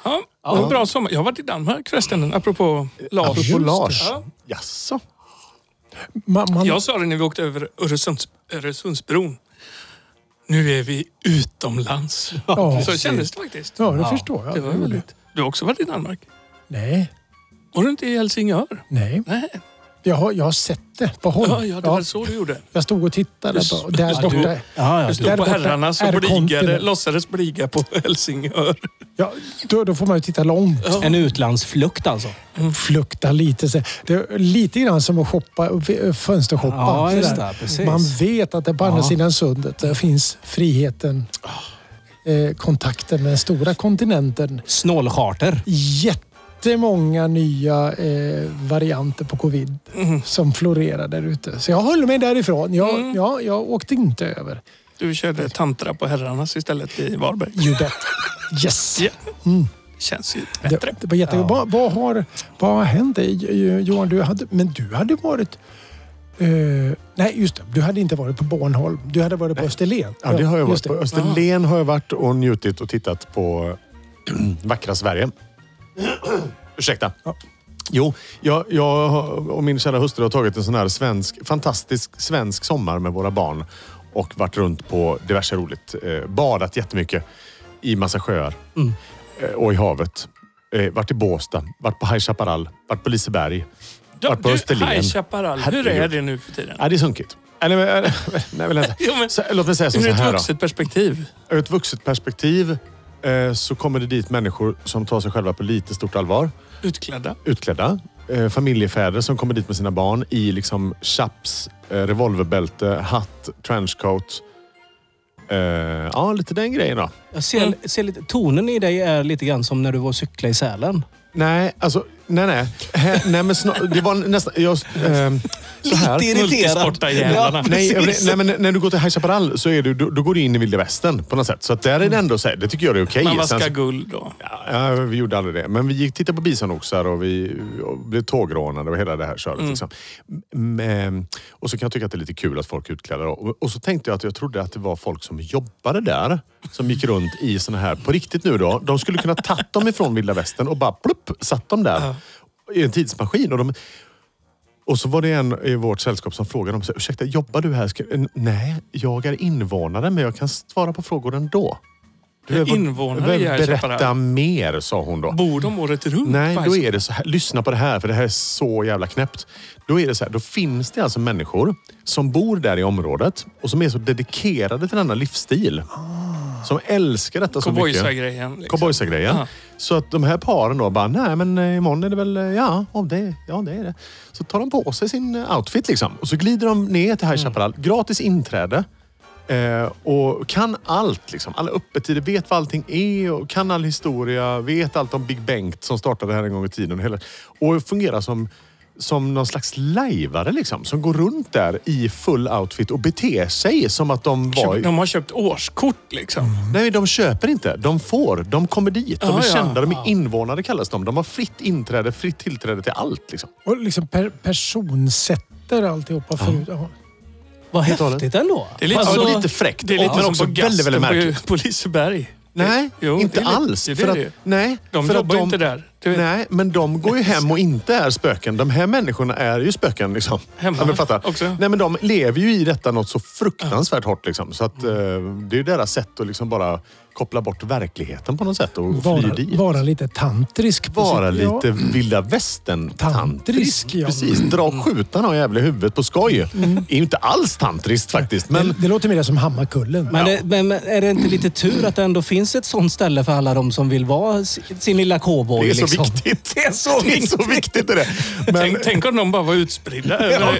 [SPEAKER 3] Ja, och en bra sommar. Jag har varit i Danmark förresten, apropå Lars.
[SPEAKER 1] Apropå Lars.
[SPEAKER 3] Ja.
[SPEAKER 1] Jaså?
[SPEAKER 4] Man, man,
[SPEAKER 3] Jag sa det när vi åkte över Öresunds, Öresundsbron. Nu är vi utomlands.
[SPEAKER 4] ja,
[SPEAKER 3] Så kändes det faktiskt.
[SPEAKER 4] ja, det förstår jag.
[SPEAKER 3] Det var väldigt. Du har också varit i Danmark.
[SPEAKER 4] Nej,
[SPEAKER 3] Var du inte i Helsingör?
[SPEAKER 4] nej.
[SPEAKER 3] Nej.
[SPEAKER 4] Jag har, jag har sett det på håll.
[SPEAKER 3] Ja, ja, det var så du gjorde.
[SPEAKER 4] Jag stod och tittade.
[SPEAKER 3] Du-
[SPEAKER 4] På, där
[SPEAKER 2] Ja, du,
[SPEAKER 4] borta.
[SPEAKER 2] ja, ja,
[SPEAKER 3] Du
[SPEAKER 2] du,
[SPEAKER 3] stod
[SPEAKER 4] Där
[SPEAKER 3] på
[SPEAKER 4] borta
[SPEAKER 3] herrarnas
[SPEAKER 4] är
[SPEAKER 3] och blygade,
[SPEAKER 4] kontinent.
[SPEAKER 3] låtsades bliga på Helsingör.
[SPEAKER 4] Ja, då, då får man ju titta långt.
[SPEAKER 2] en utlandsflukt alltså.
[SPEAKER 3] Mm.
[SPEAKER 4] Flukta lite. så- Det är lite grann som att shoppa, f- fönstershoppa.
[SPEAKER 2] Ja, just
[SPEAKER 4] Sådär.
[SPEAKER 2] det. Precis.
[SPEAKER 4] Man vet att det på andra
[SPEAKER 2] Ja.
[SPEAKER 4] sidan sundet där finns friheten,
[SPEAKER 3] Ah.
[SPEAKER 4] eh, kontakten med den stora kontinenten.
[SPEAKER 2] Snålcharter.
[SPEAKER 4] Jättemånga nya eh, varianter på covid
[SPEAKER 1] Mm.
[SPEAKER 4] som florerar där ute. Så jag höll mig därifrån. Jag, ja, jag åkte inte över.
[SPEAKER 3] Du körde tantra på herrarnas istället i Varberg.
[SPEAKER 4] You bet. Yes!
[SPEAKER 3] Ja.
[SPEAKER 1] Mm.
[SPEAKER 3] Känns ju
[SPEAKER 4] Det,
[SPEAKER 3] bättre.
[SPEAKER 4] det var jätte... vad, vad, har, vad har hänt dig? Jo- Jo- Johan? Du hade, men du hade varit... eh, nej, just det. Du hade inte varit på Bornholm. Du hade varit på Österlen.
[SPEAKER 1] Ja, det har jag
[SPEAKER 4] just
[SPEAKER 1] varit. På
[SPEAKER 4] det.
[SPEAKER 1] Österlen har jag varit och njutit och tittat på vackra Sverige. Ursäkta. Jo, jag, jag har- och min kära hustru har tagit en sån här svensk, fantastisk svensk sommar med våra barn och varit runt på diverse roligt. Eh, badat jättemycket i massa sjöar eh, och i havet. Eh, varit i Båstad, varit på High Chaparral, varit på Liseberg. Vart på
[SPEAKER 3] Du,
[SPEAKER 1] Österlen.
[SPEAKER 3] High Chaparral, hur är
[SPEAKER 1] Herregud.
[SPEAKER 3] det nu för tiden?
[SPEAKER 1] Ja, Äh, det är sunkigt. Eller, men, eh, nej, väl inte.
[SPEAKER 3] Jo, men-
[SPEAKER 1] Så, låt mig säga som
[SPEAKER 3] Ur
[SPEAKER 1] så
[SPEAKER 3] ett
[SPEAKER 1] här då.
[SPEAKER 3] vuxet perspektiv.
[SPEAKER 1] Ur ett vuxet perspektiv eh, så kommer det dit människor som tar sig själva på lite stort allvar.
[SPEAKER 3] Utklädda.
[SPEAKER 1] Utklädda. Eh, familjefäder som kommer dit med sina barn i liksom chaps, eh, revolverbälte, hatt, trenchcoat. Eh, ja, lite den grejen då.
[SPEAKER 2] Jag ser, ser lite, tonen i dig är lite grann som när du var och cyklade i Sälen.
[SPEAKER 1] Nej, alltså... Nej, nej. Hä, nej men snar, det var nästan... Jag, eh, så här.
[SPEAKER 2] Lite irriterad.
[SPEAKER 3] Multisportarjävlarna.
[SPEAKER 1] Nej, jag-
[SPEAKER 2] precis.
[SPEAKER 1] nej, men när du går till High Chaparral så är du, då, då går du in i vilda västern på något sätt. Så att där är det ändå så här, det tycker jag är okej.
[SPEAKER 3] Man
[SPEAKER 1] Sen
[SPEAKER 3] vaskar
[SPEAKER 1] så-
[SPEAKER 3] guld då.
[SPEAKER 1] Ja, vi gjorde aldrig det. Men vi gick tittade på bisonoxar och vi och blev tågrånade och hela det här köret. Liksom. Men, och så kan jag tycka att det är lite kul att folk är utklädda. då. Och, och så tänkte jag att jag trodde att det var folk som jobbade där. Som gick runt i såna här, på riktigt nu då. De skulle kunna tagit dem ifrån vilda västern och bara plupp, satt dem där. I en tidsmaskin. Och de, och så var det en i vårt sällskap som frågade om så här, ursäkta, jobbar du här? Ska, nej, jag är invånare men jag kan svara på frågor ändå. Du vet vad-
[SPEAKER 3] Invånare i
[SPEAKER 1] Berätta
[SPEAKER 3] Erkäpparall.
[SPEAKER 1] mer, sa hon då.
[SPEAKER 3] Bor de året runt?
[SPEAKER 1] Nej,
[SPEAKER 3] på
[SPEAKER 1] då
[SPEAKER 3] Erkäpparall?
[SPEAKER 1] är det så här. Lyssna på det här, för det här är så jävla knäppt. Då är det så här, då finns det alltså människor som bor där i området och som är så dedikerade till denna livsstil. Som älskar detta så mycket.
[SPEAKER 3] Cowboysar-grejen. liksom.
[SPEAKER 1] Cowboysar-grejen.
[SPEAKER 3] Ja.
[SPEAKER 1] Så att de här paren då bara, nej men eh, imorgon är det väl, eh, ja, om det, ja det är det. Så tar de på sig sin eh, outfit liksom. Och så glider de ner till High Chaparral. Gratis inträde. Eh, och kan allt liksom. Alla öppettider, vet vad allting är och kan all historia. Vet allt om Big Bengt som startade här en gång i tiden. Och, hela, och fungerar som som någon slags lajvare liksom. Som går runt där i full outfit och beter sig som att de var...
[SPEAKER 3] Köp- De har köpt årskort liksom.
[SPEAKER 1] Nej, de köper inte. De får. De kommer dit. De är
[SPEAKER 3] Ah, ja.
[SPEAKER 1] kända. De är invånare kallas de. De har fritt inträde, fritt tillträde till allt. Liksom.
[SPEAKER 4] Och liksom per, personsätter alltihopa förut. Ja.
[SPEAKER 2] Vad
[SPEAKER 1] Helt och
[SPEAKER 2] häftigt ändå.
[SPEAKER 3] Det är lite-
[SPEAKER 1] ja,
[SPEAKER 3] Alltså,
[SPEAKER 1] det är lite fräckt,
[SPEAKER 3] Det är lite
[SPEAKER 1] men
[SPEAKER 3] som
[SPEAKER 1] också
[SPEAKER 3] på
[SPEAKER 1] väldigt, väldigt
[SPEAKER 3] Gasten på-
[SPEAKER 1] märkligt.
[SPEAKER 3] på Liseberg.
[SPEAKER 1] Nej,
[SPEAKER 3] Jo, det
[SPEAKER 1] inte
[SPEAKER 3] är lite-
[SPEAKER 1] alls.
[SPEAKER 3] det är
[SPEAKER 1] för
[SPEAKER 3] det
[SPEAKER 1] att,
[SPEAKER 3] ju.
[SPEAKER 1] nej,
[SPEAKER 3] De
[SPEAKER 1] för
[SPEAKER 3] jobbar
[SPEAKER 1] att
[SPEAKER 3] ju inte där. Du vet.
[SPEAKER 1] Nej, men de går ju hem och inte är spöken. De här människorna är ju spöken. Liksom.
[SPEAKER 3] Hemma
[SPEAKER 1] ja, men fattar.
[SPEAKER 3] också.
[SPEAKER 1] Nej, men de lever ju i detta något så fruktansvärt hårt. Liksom. Så att, eh,
[SPEAKER 3] Mm.
[SPEAKER 1] det är ju deras sätt att liksom bara koppla bort verkligheten på något sätt och fly dit.
[SPEAKER 4] Vara, vara lite tantrisk. på
[SPEAKER 1] Vara
[SPEAKER 4] sitt-
[SPEAKER 1] lite vilda västern
[SPEAKER 4] Tantrisk, ja.
[SPEAKER 1] Precis, dra skjuta någon jävla i huvudet på skoj. är ju inte alls tantriskt faktiskt.
[SPEAKER 4] Ja.
[SPEAKER 1] Men
[SPEAKER 4] Det, det låter mer som Hammarkullen.
[SPEAKER 2] Men, det, men men är det inte lite tur att det ändå finns ett sånt ställe för alla de som vill vara s- sin lilla cowboy?
[SPEAKER 1] det är så
[SPEAKER 2] liksom?
[SPEAKER 1] viktigt. Det är så viktigt. Det är, det.
[SPEAKER 3] Tänk,
[SPEAKER 1] Men,
[SPEAKER 3] tänk om de bara var utspridda över
[SPEAKER 2] Ja,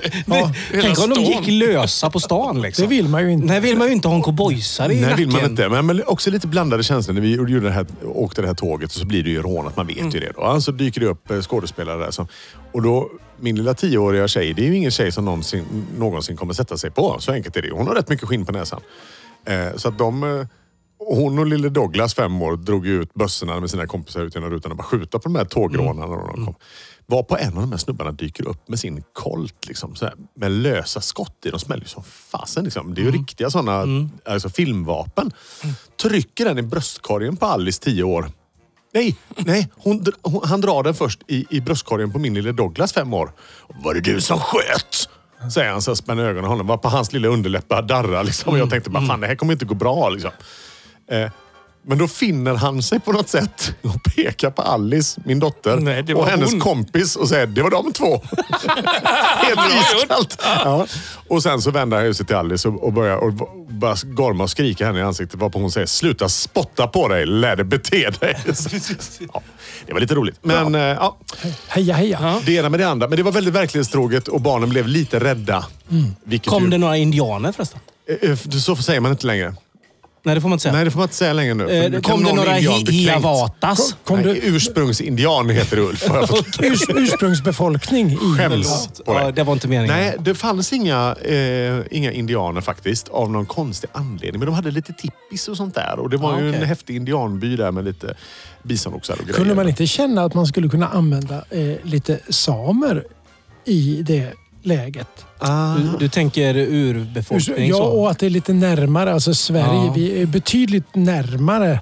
[SPEAKER 3] hela
[SPEAKER 2] Tänk om de
[SPEAKER 3] stan.
[SPEAKER 2] gick lösa på stan liksom.
[SPEAKER 4] Det vill man ju inte.
[SPEAKER 2] Nej, vill man ju inte ha en cowboysare i
[SPEAKER 1] nej, vill man
[SPEAKER 2] nacken.
[SPEAKER 1] inte. Men, men också lite blandade känslor. När vi gjorde det här, åkte det här tåget och så blir det ju rånat. Man vet ju det. Då. Alltså dyker det upp eh, skådespelare där. Som, och då, min lilla tioåriga tjej, det är ju ingen tjej som någonsin, någonsin kommer sätta sig på. Så enkelt är det. Hon har rätt mycket skinn på näsan. Eh, så att de... Eh, hon och lille Douglas, fem år, drog ju ut bössorna med sina kompisar ut genom rutan och bara skjuta på de här tågrånarna när de kom. Var på en av de här snubbarna dyker upp med sin kolt liksom, så här, med lösa skott i. De smäller ju som fasen. Liksom. Det är ju riktiga sådana alltså, filmvapen. Trycker den i bröstkorgen på Alice, tio år. Nej, nej. Hon, dr- hon, han drar den först i, i bröstkorgen på min lille Douglas, fem år. Var det du som sköt? Säger han så här, spänner ögonen i honom. Var på hans lilla underläpp börjar darra. Liksom. Och jag tänkte
[SPEAKER 3] Mm,
[SPEAKER 1] bara, fan det här kommer inte gå bra. Liksom. Eh, men då finner han sig på något sätt och pekar på Alice, min dotter,
[SPEAKER 3] Nej, det var
[SPEAKER 1] och hennes
[SPEAKER 3] hon.
[SPEAKER 1] kompis och säger det var de två. Helt iskallt. Ja. Och sen så vänder han huset till Alice och, och börjar och, och börjar gorma och skrika henne i ansiktet varpå hon säger sluta spotta på dig, lär dig bete dig. ja, det var lite roligt. Men ja. Ja,
[SPEAKER 4] Heja, heja.
[SPEAKER 1] det ena med det andra. Men det var väldigt verklighetstroget och barnen blev lite rädda. Vilket
[SPEAKER 2] Mm. Kom
[SPEAKER 1] ju,
[SPEAKER 2] det några indianer förresten?
[SPEAKER 1] eh, eh, så säger man inte längre.
[SPEAKER 2] Nej, det får man inte säga.
[SPEAKER 1] Nej, det får man inte säga längre nu. för nu
[SPEAKER 2] Eh,
[SPEAKER 1] kan
[SPEAKER 2] Kom det
[SPEAKER 1] någon
[SPEAKER 2] några
[SPEAKER 1] indian
[SPEAKER 2] hi-
[SPEAKER 1] bli kränkt.
[SPEAKER 2] hiavatas?
[SPEAKER 1] Kom Nej, Ursprungsindian heter Ulf. har jag fått
[SPEAKER 4] Urs, ursprungsbefolkning. i-
[SPEAKER 1] Skäms på
[SPEAKER 2] Ja,
[SPEAKER 1] dig.
[SPEAKER 2] det var inte meningen.
[SPEAKER 1] Nej, det fanns inga, eh, inga indianer faktiskt av någon konstig anledning. Men de hade lite tippis och sånt där. Och det var
[SPEAKER 2] Ah,
[SPEAKER 1] ju en
[SPEAKER 2] okej.
[SPEAKER 1] häftig indianby där med lite bisonoxar och grejer.
[SPEAKER 4] Kunde man inte känna att man skulle kunna använda eh, lite samer i det läget?
[SPEAKER 1] Ah.
[SPEAKER 2] Du, du tänker urbefolkning?
[SPEAKER 4] Ja,
[SPEAKER 2] så.
[SPEAKER 4] och att det är lite närmare. Alltså Sverige,
[SPEAKER 2] Ja.
[SPEAKER 4] vi är betydligt närmare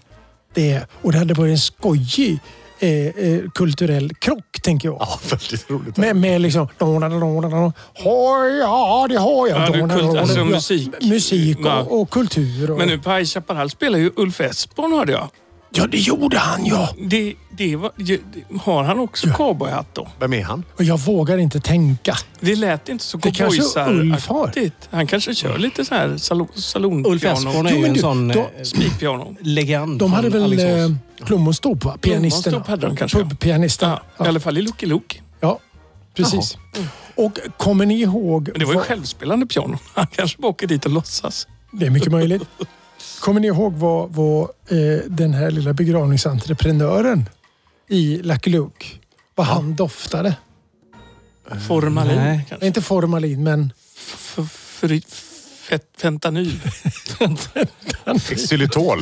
[SPEAKER 4] det. Och det hade varit en skojig eh, eh, kulturell krock, tänker jag.
[SPEAKER 1] Ja, väldigt roligt.
[SPEAKER 4] Med, med liksom... Har jag, det har jag.
[SPEAKER 3] Ja, det är kult- alltså
[SPEAKER 4] Ja,
[SPEAKER 3] musik.
[SPEAKER 4] Musik
[SPEAKER 3] Ja.
[SPEAKER 4] och, och kultur. Och,
[SPEAKER 3] Men nu på High Chaparral spelar ju Ulf Esborn hörde jag.
[SPEAKER 4] Ja, det gjorde han ja.
[SPEAKER 3] Det, det var, ju- det, har han också cowboyhatt då?
[SPEAKER 1] Vem är han?
[SPEAKER 4] Och jag vågar inte tänka.
[SPEAKER 3] Det lät inte så
[SPEAKER 4] Det kanske Ulf har.
[SPEAKER 3] cowboysar-aktigt. Han kanske kör lite så här salon,
[SPEAKER 2] Ulf Esborn
[SPEAKER 3] salonpiano.
[SPEAKER 2] är
[SPEAKER 4] Jo,
[SPEAKER 2] ju
[SPEAKER 4] men
[SPEAKER 2] en
[SPEAKER 4] du,
[SPEAKER 2] sån
[SPEAKER 4] då-
[SPEAKER 2] eh,
[SPEAKER 3] Spikpiano.
[SPEAKER 2] legend.
[SPEAKER 4] De hade
[SPEAKER 2] från
[SPEAKER 4] väl
[SPEAKER 2] Alingsås.
[SPEAKER 4] eh, plommonstomp, va? Pianisterna.
[SPEAKER 3] Plommonstomp hade de kanske, ja.
[SPEAKER 4] Pianisterna.
[SPEAKER 3] Ja, I alla fall i Lucky Luke.
[SPEAKER 4] Ja, precis. Och kommer ni ihåg...
[SPEAKER 3] Men det var ju
[SPEAKER 4] vad-
[SPEAKER 3] självspelande piano. Han kanske bara åker dit och låtsas.
[SPEAKER 4] Det är mycket möjligt. Kommer ni ihåg vad, vad eh, den här lilla begravningsentreprenören i Lucky Luke, vad han doftade?
[SPEAKER 3] Formalin
[SPEAKER 2] Nej.
[SPEAKER 3] kanske?
[SPEAKER 4] Inte formalin, men
[SPEAKER 3] F- fri- fet- Fentanyl.
[SPEAKER 1] Xylitol.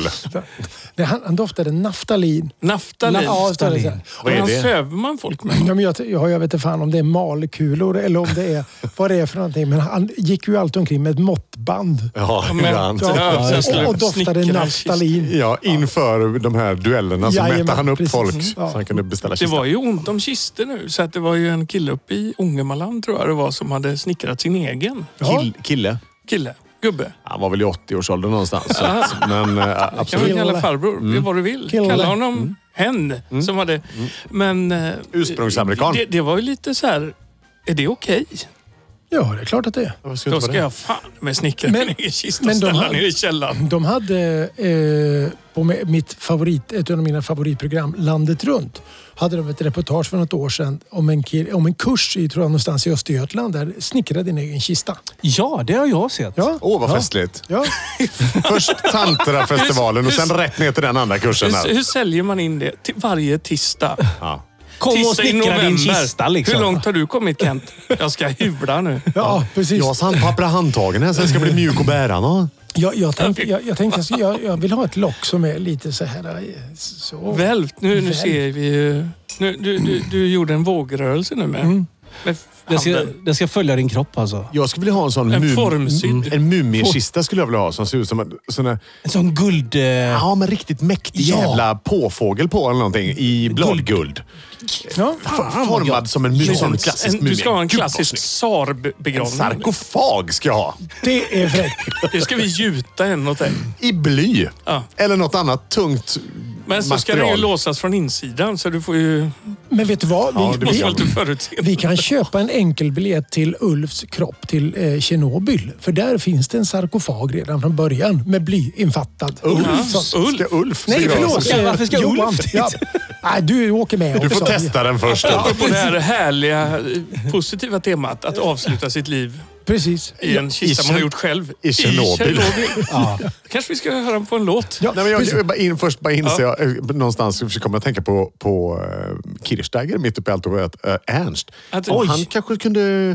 [SPEAKER 4] det, han, han doftade naftalin.
[SPEAKER 3] Naftalin.
[SPEAKER 4] Ja, så är det så här.
[SPEAKER 1] Vad
[SPEAKER 3] Men
[SPEAKER 1] är
[SPEAKER 3] han
[SPEAKER 1] det?
[SPEAKER 3] söver man folk med.
[SPEAKER 4] Ja, men jag, ja, jag vet inte fan om det är malkulor eller om det är vad det är för någonting. Men han gick ju alltid omkring med ett måttband.
[SPEAKER 1] Ja,
[SPEAKER 3] Men-
[SPEAKER 1] ibland.
[SPEAKER 3] Ja, sen slår-
[SPEAKER 4] och, och doftade
[SPEAKER 3] snickrar-
[SPEAKER 4] naftalin.
[SPEAKER 1] Ja, inför de här duellerna så
[SPEAKER 4] Jajamän,
[SPEAKER 1] mätte han upp
[SPEAKER 4] precis.
[SPEAKER 1] folk
[SPEAKER 4] Mm.
[SPEAKER 1] så
[SPEAKER 4] Ja.
[SPEAKER 1] han kunde beställa
[SPEAKER 3] Det
[SPEAKER 1] kista.
[SPEAKER 3] var ju ont om kister nu, så att det var ju en kille uppe i Ångermanland tror jag det var som hade snickrat sin egen
[SPEAKER 4] Ja.
[SPEAKER 1] Kill, kille.
[SPEAKER 3] kille. gubbe.
[SPEAKER 1] Han var väl i 80-årsåldern någonstans. Så att, men eh,
[SPEAKER 3] Kan vi
[SPEAKER 1] absolut.
[SPEAKER 3] kalla
[SPEAKER 4] Kille-Olle.
[SPEAKER 3] farbror det är vad du vill.
[SPEAKER 4] Kille-Olle.
[SPEAKER 3] Kalla honom hen. Som hade, men, eh,
[SPEAKER 1] Ursprungsamerikan.
[SPEAKER 3] Det, det var ju lite så här, är det okej?
[SPEAKER 4] Ja, det är klart att det är.
[SPEAKER 3] Då ska jag fan med snickra
[SPEAKER 4] Men-
[SPEAKER 3] min egen kista och
[SPEAKER 4] men de
[SPEAKER 3] ställa
[SPEAKER 4] hade-
[SPEAKER 3] ner i källaren.
[SPEAKER 4] De hade eh, på mi- mitt favorit, ett av mina favoritprogram, Landet runt, hade de ett reportage för något år sedan om en, kill, om en kurs i, tror jag, någonstans i Östergötland där snickra din egen kista.
[SPEAKER 2] Ja, det har jag sett.
[SPEAKER 4] Ja,
[SPEAKER 1] Åh, vad festligt.
[SPEAKER 4] ja.
[SPEAKER 1] Först Tantrafestivalen och sen rätt ner till den andra kursen.
[SPEAKER 3] Hur,
[SPEAKER 1] Där.
[SPEAKER 3] hur säljer man in det? Till varje tisdag.
[SPEAKER 1] Ja.
[SPEAKER 2] Kom och
[SPEAKER 3] Tisdag i
[SPEAKER 2] snickra din
[SPEAKER 3] november.
[SPEAKER 2] kista liksom.
[SPEAKER 3] Hur långt har du kommit Kent? Jag ska hyvla nu.
[SPEAKER 4] ja precis.
[SPEAKER 1] Jag har sandpapper i handtagen här, sen ska jag
[SPEAKER 3] Mm.
[SPEAKER 1] bli mjuk och bära. nå.
[SPEAKER 4] Jag, jag, tänkte, jag, jag, tänkte, alltså, jag, jag vill ha ett lock som är lite så här... eh, Så.
[SPEAKER 3] Välvt. Nu, nu
[SPEAKER 4] Välvt.
[SPEAKER 3] ser vi ju... Nu, du, du, du gjorde en vågrörelse nu med. med
[SPEAKER 2] Den ska,
[SPEAKER 3] handen.
[SPEAKER 2] den ska följa din kropp alltså.
[SPEAKER 1] Jag skulle vilja ha en sån
[SPEAKER 3] En
[SPEAKER 1] mum- mm,
[SPEAKER 3] formsydd.
[SPEAKER 1] en mumiekista skulle jag vilja ha som ser ut som en sån där,
[SPEAKER 2] En sån guld... Eh,
[SPEAKER 1] ja, men riktigt mäktig
[SPEAKER 2] Ja.
[SPEAKER 1] jävla påfågel på eller någonting i bladguld.
[SPEAKER 4] Ja.
[SPEAKER 1] Fan, Formad som en mumie. Som en klassisk
[SPEAKER 3] en,
[SPEAKER 1] mumie.
[SPEAKER 3] du ska ha en
[SPEAKER 1] Gud, vad
[SPEAKER 3] klassisk
[SPEAKER 1] snyggt. En
[SPEAKER 3] tsarbegravning.
[SPEAKER 1] sarkofag ska jag ha.
[SPEAKER 4] Det är fräckt.
[SPEAKER 3] Det ska vi gjuta en åt dig.
[SPEAKER 1] I bly.
[SPEAKER 3] Ja.
[SPEAKER 1] Eller något annat tungt
[SPEAKER 3] Men så ska den ju
[SPEAKER 1] material.
[SPEAKER 3] låsas från insidan så du får ju...
[SPEAKER 4] Men vet du vad? Vi,
[SPEAKER 1] Ja, det måste
[SPEAKER 3] Du måste
[SPEAKER 4] vi,
[SPEAKER 3] väl inte förutse.
[SPEAKER 4] vi kan köpa en enkelbiljett till Ulfs kropp till eh, Tjernobyl. För där finns det en sarkofag redan från början med bly infattad.
[SPEAKER 1] Ulf.
[SPEAKER 4] Så-
[SPEAKER 1] Ska Ulf
[SPEAKER 4] Nej,
[SPEAKER 1] begravas?
[SPEAKER 4] förlåt.
[SPEAKER 2] Ska- varför ska
[SPEAKER 4] eh,
[SPEAKER 2] Ulf
[SPEAKER 4] Johan.
[SPEAKER 2] dit?
[SPEAKER 4] Ja. Nej, du åker med
[SPEAKER 1] Du
[SPEAKER 4] också.
[SPEAKER 1] får testa den först.
[SPEAKER 3] Apropå det här härliga, eh, positiva temat att avsluta sitt liv
[SPEAKER 4] Precis.
[SPEAKER 3] i en kista
[SPEAKER 1] i
[SPEAKER 3] man har
[SPEAKER 1] Tjern-
[SPEAKER 3] gjort själv.
[SPEAKER 1] i Tjernobyl.
[SPEAKER 3] ja. Kanske vi ska höra på en låt.
[SPEAKER 4] Ja,
[SPEAKER 1] Nej, men jag,
[SPEAKER 4] precis.
[SPEAKER 1] jag bara in, först bara inser jag eh, någonstans, så kommer jag tänka på, på eh, Kirchsteiger mitt uppe i allt och att eh, Ernst.
[SPEAKER 3] Att-
[SPEAKER 1] och
[SPEAKER 3] Oj.
[SPEAKER 1] han kanske kunde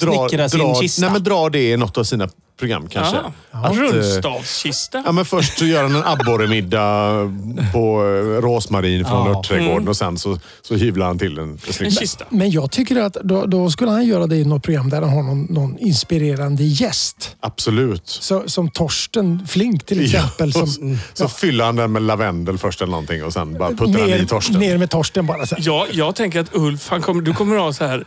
[SPEAKER 1] dra,
[SPEAKER 2] Snickra sin
[SPEAKER 1] dra,
[SPEAKER 2] kista.
[SPEAKER 1] nej, men dra det i något av sina program kanske.
[SPEAKER 3] Aha.
[SPEAKER 1] eh,
[SPEAKER 3] Rundstavskista.
[SPEAKER 1] Ja, men först så gör han en abborremiddag på eh, Rosmarin från
[SPEAKER 2] Ja.
[SPEAKER 1] örtträdgården och sen så, så hyvlar han till en,
[SPEAKER 3] En
[SPEAKER 1] snygg
[SPEAKER 3] kista.
[SPEAKER 4] Men jag tycker att då, då skulle han göra det i något program där han har någon, någon inspirerande gäst.
[SPEAKER 1] Absolut.
[SPEAKER 4] Så, som Torsten Flink till exempel.
[SPEAKER 1] Ja, och s-
[SPEAKER 4] som,
[SPEAKER 1] så fyller han den med lavendel först eller någonting och sen bara puttar han i
[SPEAKER 4] ner,
[SPEAKER 1] torsten.
[SPEAKER 4] ner med Torsten bara. Så här.
[SPEAKER 3] Ja, jag tänker att Ulf, han kommer, du kommer ha så här...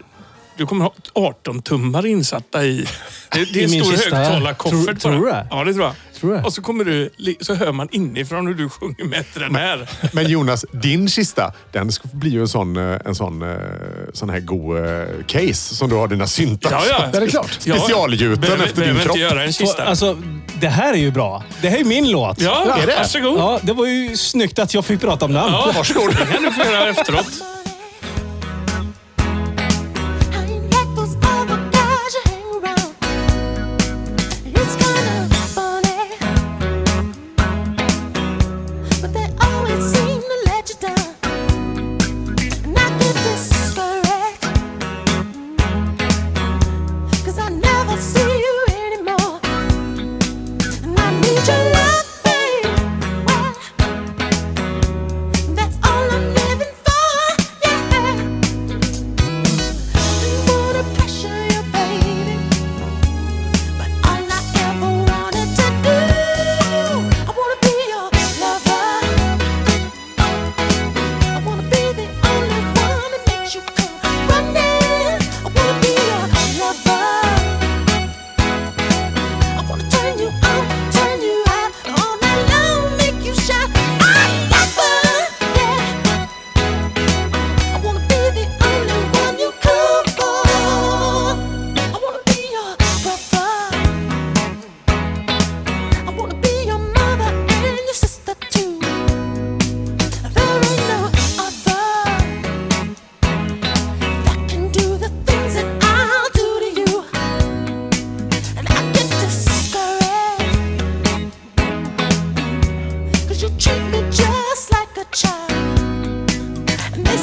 [SPEAKER 3] Du kommer ha 18 tummar insatta i... Det, det
[SPEAKER 2] I
[SPEAKER 3] är en
[SPEAKER 2] min
[SPEAKER 3] stor
[SPEAKER 2] kista. Tror-
[SPEAKER 3] högtalarkoffert
[SPEAKER 2] tror du
[SPEAKER 3] bara.
[SPEAKER 2] det?
[SPEAKER 3] Ja, det tror jag.
[SPEAKER 2] Tror du det?
[SPEAKER 3] Och så kommer du, li- så hör man inifrån hur du sjunger bättre än här.
[SPEAKER 1] Men Jonas, din kista, den ska bli ju en sån, eh, en sån, eh, sån här god eh, case som du har dina syntar.
[SPEAKER 3] Ja, ja.
[SPEAKER 4] Det är klart.
[SPEAKER 3] Ja,
[SPEAKER 1] Specialgjuten
[SPEAKER 3] behöver-
[SPEAKER 1] efter din
[SPEAKER 3] behöver
[SPEAKER 1] kropp.
[SPEAKER 3] inte göra en
[SPEAKER 2] Får-
[SPEAKER 3] kista.
[SPEAKER 2] Alltså, det här är ju bra. Det här är min låt.
[SPEAKER 3] ja,
[SPEAKER 1] är det?
[SPEAKER 3] varsågod.
[SPEAKER 2] Ja, det var ju snyggt att jag fick prata om den.
[SPEAKER 3] Ja, varsågod. Det kan du få göra efteråt.
[SPEAKER 9] I like those other guys you hang around. It's kinda funny, but they always seem to let you down. And I get discouraged 'cause I never see you anymore. And I need your love, babe. That's all I'm living for.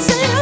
[SPEAKER 7] Oh,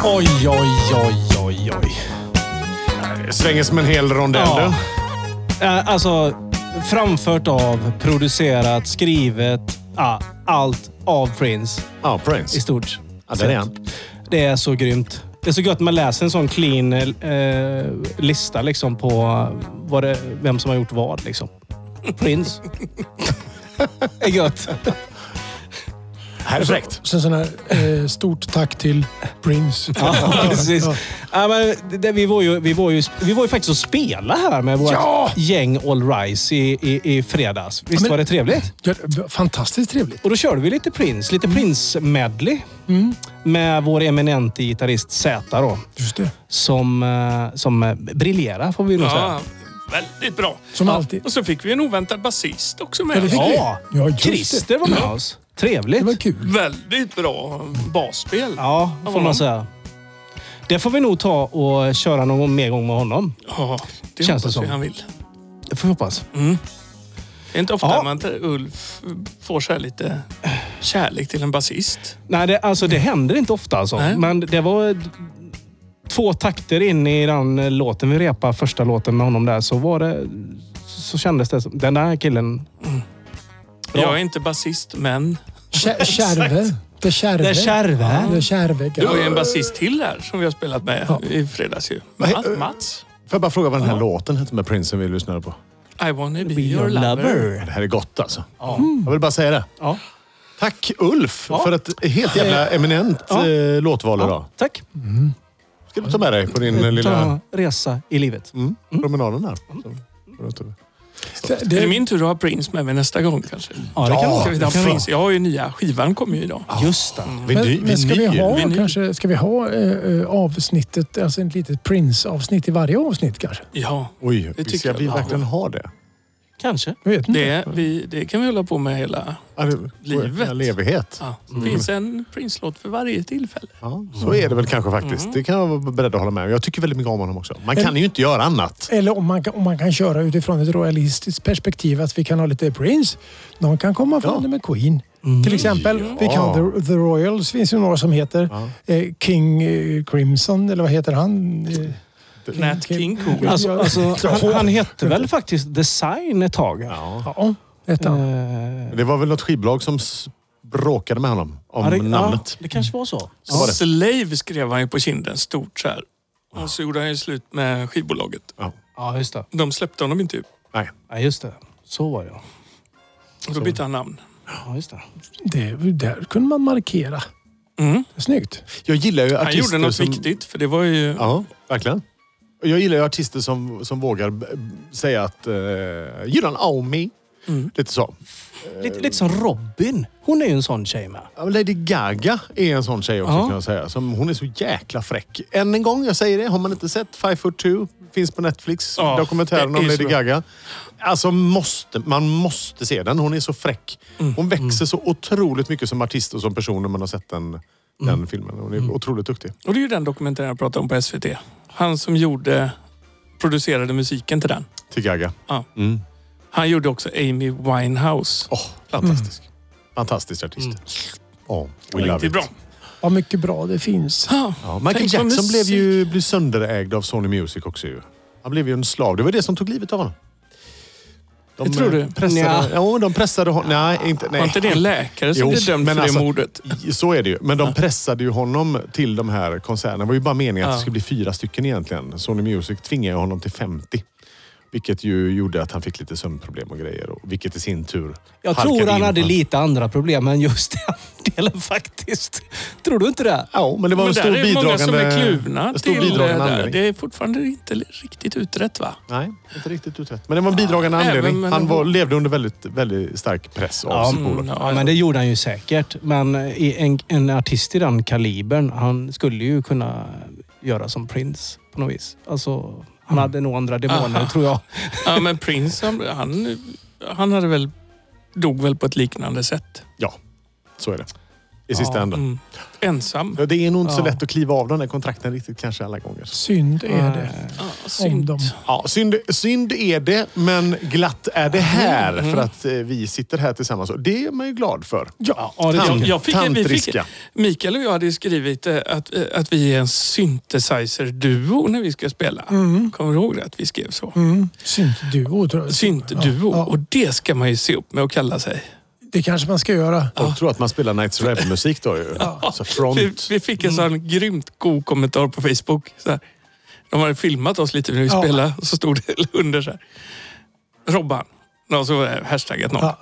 [SPEAKER 7] Ah,
[SPEAKER 2] oj, oj, oj, oj.
[SPEAKER 1] Svänger som en hel rondell
[SPEAKER 2] Ja.
[SPEAKER 1] du.
[SPEAKER 2] Eh, Alltså, framfört av, producerat, skrivet, ah, allt av Prince
[SPEAKER 1] Ja,
[SPEAKER 2] i
[SPEAKER 1] Prince.
[SPEAKER 2] stort.
[SPEAKER 1] Ja, där är han.
[SPEAKER 2] Det är så grymt. Det är så gött man läser en sån clean eh, lista liksom på vad det, vem som har gjort vad. Liksom. Prince. det är gött.
[SPEAKER 1] Här är fräckt.
[SPEAKER 4] Sen sån här, eh, stort tack till Prince.
[SPEAKER 2] Ja, precis.
[SPEAKER 4] Ja.
[SPEAKER 2] Ja, men det- det, vi, var ju, vi, var ju, vi var ju faktiskt och spela här med vårt
[SPEAKER 4] Ja!
[SPEAKER 2] gäng All Rise i, i, i fredags. Visst
[SPEAKER 4] men-
[SPEAKER 2] var det trevligt?
[SPEAKER 4] Ja, det var Fantastiskt trevligt.
[SPEAKER 2] Och då körde vi lite Prince, lite Prince-medley. Med vår eminente gitarrist Z då.
[SPEAKER 4] Just det.
[SPEAKER 2] Som, eh, som eh, briljerar får vi nog säga.
[SPEAKER 3] Ja, väldigt bra.
[SPEAKER 4] Som alltid.
[SPEAKER 3] Och så fick vi en oväntad basist också med.
[SPEAKER 4] Ja, det fick vi.
[SPEAKER 2] Ja,
[SPEAKER 4] Ja, just det.
[SPEAKER 2] Christer var med oss.
[SPEAKER 4] Det var
[SPEAKER 2] Trevligt.
[SPEAKER 4] kul.
[SPEAKER 3] Väldigt bra basspel.
[SPEAKER 2] Ja,
[SPEAKER 3] Av
[SPEAKER 2] får
[SPEAKER 3] honom.
[SPEAKER 2] man säga. Det får vi nog ta och köra någon mer gång med honom.
[SPEAKER 3] Ja, det Känns
[SPEAKER 2] Känns det
[SPEAKER 3] hoppas
[SPEAKER 2] som.
[SPEAKER 3] vi han vill.
[SPEAKER 2] Det får vi hoppas.
[SPEAKER 3] Det är inte ofta
[SPEAKER 2] Ja.
[SPEAKER 3] man inte Ulf får så här lite kärlek till en basist.
[SPEAKER 2] Nej, det, alltså, det händer inte ofta alltså.
[SPEAKER 3] Nej.
[SPEAKER 2] Men det var d- två takter in i den eh, låten vi repade, första låten med honom där, så var det... Så kändes det som, den där killen... Bra.
[SPEAKER 3] Jag är inte basist, men
[SPEAKER 4] Kär- Kärve. Det kärve.
[SPEAKER 2] Det kärva.
[SPEAKER 4] Det kärve.
[SPEAKER 3] det var ju
[SPEAKER 4] grabbar.
[SPEAKER 3] en basist till här som vi har spelat med i fredags ju. Ma- Mats.
[SPEAKER 1] Får jag bara fråga vad den här låten hette med Prince som vi lyssnade på?
[SPEAKER 3] I wanna be, your lover.
[SPEAKER 1] Det här är gott alltså. Jag vill bara säga det.
[SPEAKER 2] Ja.
[SPEAKER 1] Tack Ulf
[SPEAKER 2] Ja.
[SPEAKER 1] för ett helt jävla eminent
[SPEAKER 2] Ja.
[SPEAKER 1] eh, låtval idag.
[SPEAKER 2] Tack.
[SPEAKER 1] Ska du ta med dig på din eh, lilla
[SPEAKER 2] Ta resa i livet.
[SPEAKER 1] mm, promenaden här? Så, runt över.
[SPEAKER 4] Det-
[SPEAKER 3] Är det
[SPEAKER 4] det-
[SPEAKER 3] min tur att ha Prince med mig nästa gång kanske?
[SPEAKER 2] Ja, det kan
[SPEAKER 1] Ja,
[SPEAKER 2] vara.
[SPEAKER 3] Ska vi ta
[SPEAKER 2] Det kan vara.
[SPEAKER 3] Prince? Jag har ju nya, skivan kommer ju idag.
[SPEAKER 2] Just det.
[SPEAKER 1] Vi är ny-
[SPEAKER 4] Men,
[SPEAKER 1] vi är
[SPEAKER 4] men ska vi
[SPEAKER 1] ny.
[SPEAKER 4] ha,
[SPEAKER 3] Vinyl.
[SPEAKER 4] kanske, ska vi ha eh, eh, avsnittet, alltså ett litet Prince-avsnitt i varje avsnitt kanske?
[SPEAKER 3] Ja,
[SPEAKER 1] Oj,
[SPEAKER 3] Det tycker
[SPEAKER 1] ska vi
[SPEAKER 3] jag.
[SPEAKER 1] verkligen ha det?
[SPEAKER 2] Kanske.
[SPEAKER 4] Jag vet inte.
[SPEAKER 3] det, vi, det kan vi hålla på med hela...
[SPEAKER 1] Ja, det-
[SPEAKER 3] Livet.
[SPEAKER 1] En evighet.
[SPEAKER 3] Ja. Det finns en Prince-låt för varje tillfälle.
[SPEAKER 1] Ja, så är det väl kanske faktiskt. Det kan jag vara beredd att hålla med om. Jag tycker väldigt mycket om honom också. Man kan ju inte göra annat.
[SPEAKER 4] Eller om man, kan- om man kan köra utifrån ett royalistiskt perspektiv att vi kan ha lite Prince. Någon kan komma från
[SPEAKER 1] Ja.
[SPEAKER 4] det med Queen.
[SPEAKER 3] Mm.
[SPEAKER 4] Till exempel. Vi kan ha The, The Royals finns ju några som heter. Eh, King eh, Crimson, eller vad heter han? Eh,
[SPEAKER 3] Nat King Cole.
[SPEAKER 2] Alltså,
[SPEAKER 4] Ja.
[SPEAKER 2] alltså, han, han hette väl faktiskt Design ett tag?
[SPEAKER 4] ja, heter han.
[SPEAKER 2] Eh,
[SPEAKER 1] Det var väl något skivbolag som s- bråkade med honom om
[SPEAKER 2] ja, det,
[SPEAKER 1] namnet.
[SPEAKER 2] Ja, det kanske var så.
[SPEAKER 1] Så var det.
[SPEAKER 3] Slave skrev han ju på kinden stort så här. Och så gjorde han ju slut med skivbolaget.
[SPEAKER 2] Ja, just det.
[SPEAKER 3] De släppte honom typ, inte.
[SPEAKER 1] Nej.
[SPEAKER 2] Ja, just det. Så var det. ja.
[SPEAKER 3] Och då bytte han namn.
[SPEAKER 2] Ja, just det.
[SPEAKER 4] Det, där kunde man markera.
[SPEAKER 3] Mm.
[SPEAKER 4] Snyggt.
[SPEAKER 1] Jag gillar ju
[SPEAKER 3] Han
[SPEAKER 1] artister
[SPEAKER 3] gjorde något
[SPEAKER 1] som...
[SPEAKER 3] viktigt för det var ju...
[SPEAKER 1] Ja, verkligen. Och Jag gillar ju artister som, som vågar b- b- säga att uh, you don't owe me. Lite så.
[SPEAKER 2] Lite, lite som Robin. Hon är ju en sån tjej med.
[SPEAKER 1] Ja, Lady Gaga är en sån tjej också
[SPEAKER 2] Ja.
[SPEAKER 1] kan jag säga. Som, hon är så jäkla fräck. Än en gång, jag säger det. Har man inte sett Five Foot Two? Finns på Netflix.
[SPEAKER 3] Ja,
[SPEAKER 1] dokumentären
[SPEAKER 3] det är
[SPEAKER 1] om
[SPEAKER 3] så
[SPEAKER 1] Lady
[SPEAKER 3] bra.
[SPEAKER 1] Gaga. Alltså måste, man måste se den. Hon är så fräck.
[SPEAKER 3] Mm,
[SPEAKER 1] Hon växer så otroligt mycket som artist och som person när man har sett den, den
[SPEAKER 3] Mm.
[SPEAKER 1] filmen. Hon är otroligt duktig.
[SPEAKER 3] Och det är ju den dokumentären jag pratade om på SVT. Han som gjorde... Producerade musiken till den.
[SPEAKER 1] Till Gaga.
[SPEAKER 3] Ja.
[SPEAKER 1] Mm.
[SPEAKER 3] Han gjorde också Amy Winehouse.
[SPEAKER 1] Åh, fantastisk. Fantastisk artist. Åh, we love
[SPEAKER 3] Mm. Riktigt
[SPEAKER 1] it.
[SPEAKER 3] bra.
[SPEAKER 4] Vad mycket bra det finns.
[SPEAKER 3] Ja.
[SPEAKER 1] Ja, Michael
[SPEAKER 3] Tänk vad
[SPEAKER 1] Jackson blev
[SPEAKER 3] musik-
[SPEAKER 1] ju blev sönderägd av Sony Music också ju. Han blev ju en slav. Det var det som tog livet av honom. De
[SPEAKER 3] Det tror
[SPEAKER 1] eh,
[SPEAKER 3] du?
[SPEAKER 1] Pressade, ja. de pressade honom. Nej, inte...
[SPEAKER 3] Var
[SPEAKER 1] Nej.
[SPEAKER 3] inte det en läkare som
[SPEAKER 1] Jo,
[SPEAKER 3] blev dömd
[SPEAKER 1] men
[SPEAKER 3] för
[SPEAKER 1] alltså-
[SPEAKER 3] det mordet?
[SPEAKER 1] Så är det ju. Men de pressade ju honom till de här konserterna. Det var ju bara meningen att det
[SPEAKER 3] Ja.
[SPEAKER 1] skulle bli fyra stycken egentligen. Sony Music tvingade ju honom till 50. Vilket ju gjorde att han fick lite sömnproblem och grejer. Och vilket i sin tur
[SPEAKER 2] Jag
[SPEAKER 1] halkade
[SPEAKER 2] tror han
[SPEAKER 1] in
[SPEAKER 2] hade
[SPEAKER 1] på-
[SPEAKER 2] lite andra problem än just den delen faktiskt. Tror du inte det?
[SPEAKER 1] Ja, men det var
[SPEAKER 3] Men
[SPEAKER 1] en
[SPEAKER 3] där
[SPEAKER 1] stor
[SPEAKER 3] är ju många som
[SPEAKER 1] bidragande...
[SPEAKER 3] är kluvna
[SPEAKER 1] en stor
[SPEAKER 3] till det
[SPEAKER 1] bidragande
[SPEAKER 3] där.
[SPEAKER 1] anledning.
[SPEAKER 3] Det är fortfarande inte riktigt utrett va?
[SPEAKER 1] Nej, inte riktigt utrett. Men det var en bidragande
[SPEAKER 3] Ja,
[SPEAKER 1] anledning.
[SPEAKER 3] även- men-
[SPEAKER 1] han var, levde under väldigt, väldigt stark press av
[SPEAKER 2] Ja,
[SPEAKER 1] sitt
[SPEAKER 3] mm,
[SPEAKER 1] bolag.
[SPEAKER 3] ja.
[SPEAKER 2] Ja, men det gjorde han ju säkert. Men eh, i en, en artist i den kalibern, han skulle ju kunna göra som Prince på något vis. Alltså, han hade nog andra demoner
[SPEAKER 3] Aha.
[SPEAKER 2] tror jag.
[SPEAKER 3] Ja, men Prince han, han, han hade väl, dog väl på ett liknande sätt.
[SPEAKER 1] Ja, så är det. i sista änden.
[SPEAKER 3] Mm. Ensam.
[SPEAKER 1] Ja, det är nog inte så
[SPEAKER 2] Ja.
[SPEAKER 1] lätt att kliva av de där kontrakten riktigt kanske alla gånger.
[SPEAKER 4] Synd
[SPEAKER 3] Eh.
[SPEAKER 4] är
[SPEAKER 2] Eh,
[SPEAKER 4] det.
[SPEAKER 3] Ja,
[SPEAKER 4] Om
[SPEAKER 3] synd.
[SPEAKER 4] dem.
[SPEAKER 1] Ja, synd, synd är det, men glatt är
[SPEAKER 3] Mm,
[SPEAKER 1] det här. För att eh, vi sitter här tillsammans och det är man ju glad för.
[SPEAKER 2] Ja, ja, det
[SPEAKER 1] Tant-
[SPEAKER 2] tycker jag.
[SPEAKER 3] Jag fick, vi fick,
[SPEAKER 1] tantriska.
[SPEAKER 3] Mikael och jag hade ju skrivit eh, att, eh, att vi är en synthesizer-duo när vi ska spela. Kommer du ihåg det? Att vi skrev så?
[SPEAKER 4] Mm. Syntduo tror jag.
[SPEAKER 3] Syntduo.
[SPEAKER 4] Ja, ja.
[SPEAKER 3] Och det ska man ju se upp med att kalla sig.
[SPEAKER 4] Det kanske man ska göra.
[SPEAKER 1] Folk tror att man spelar Knights Rebel-musik då ju. Alltså
[SPEAKER 3] Vi,
[SPEAKER 1] front. Mm.
[SPEAKER 3] vi fick en sån grymt god kommentar på Facebook. Så här. De hade filmat oss lite när vi
[SPEAKER 4] Ja.
[SPEAKER 3] spelade och så stod det under så här. Robban. Och så eh, hashtagget någon.
[SPEAKER 4] Ja.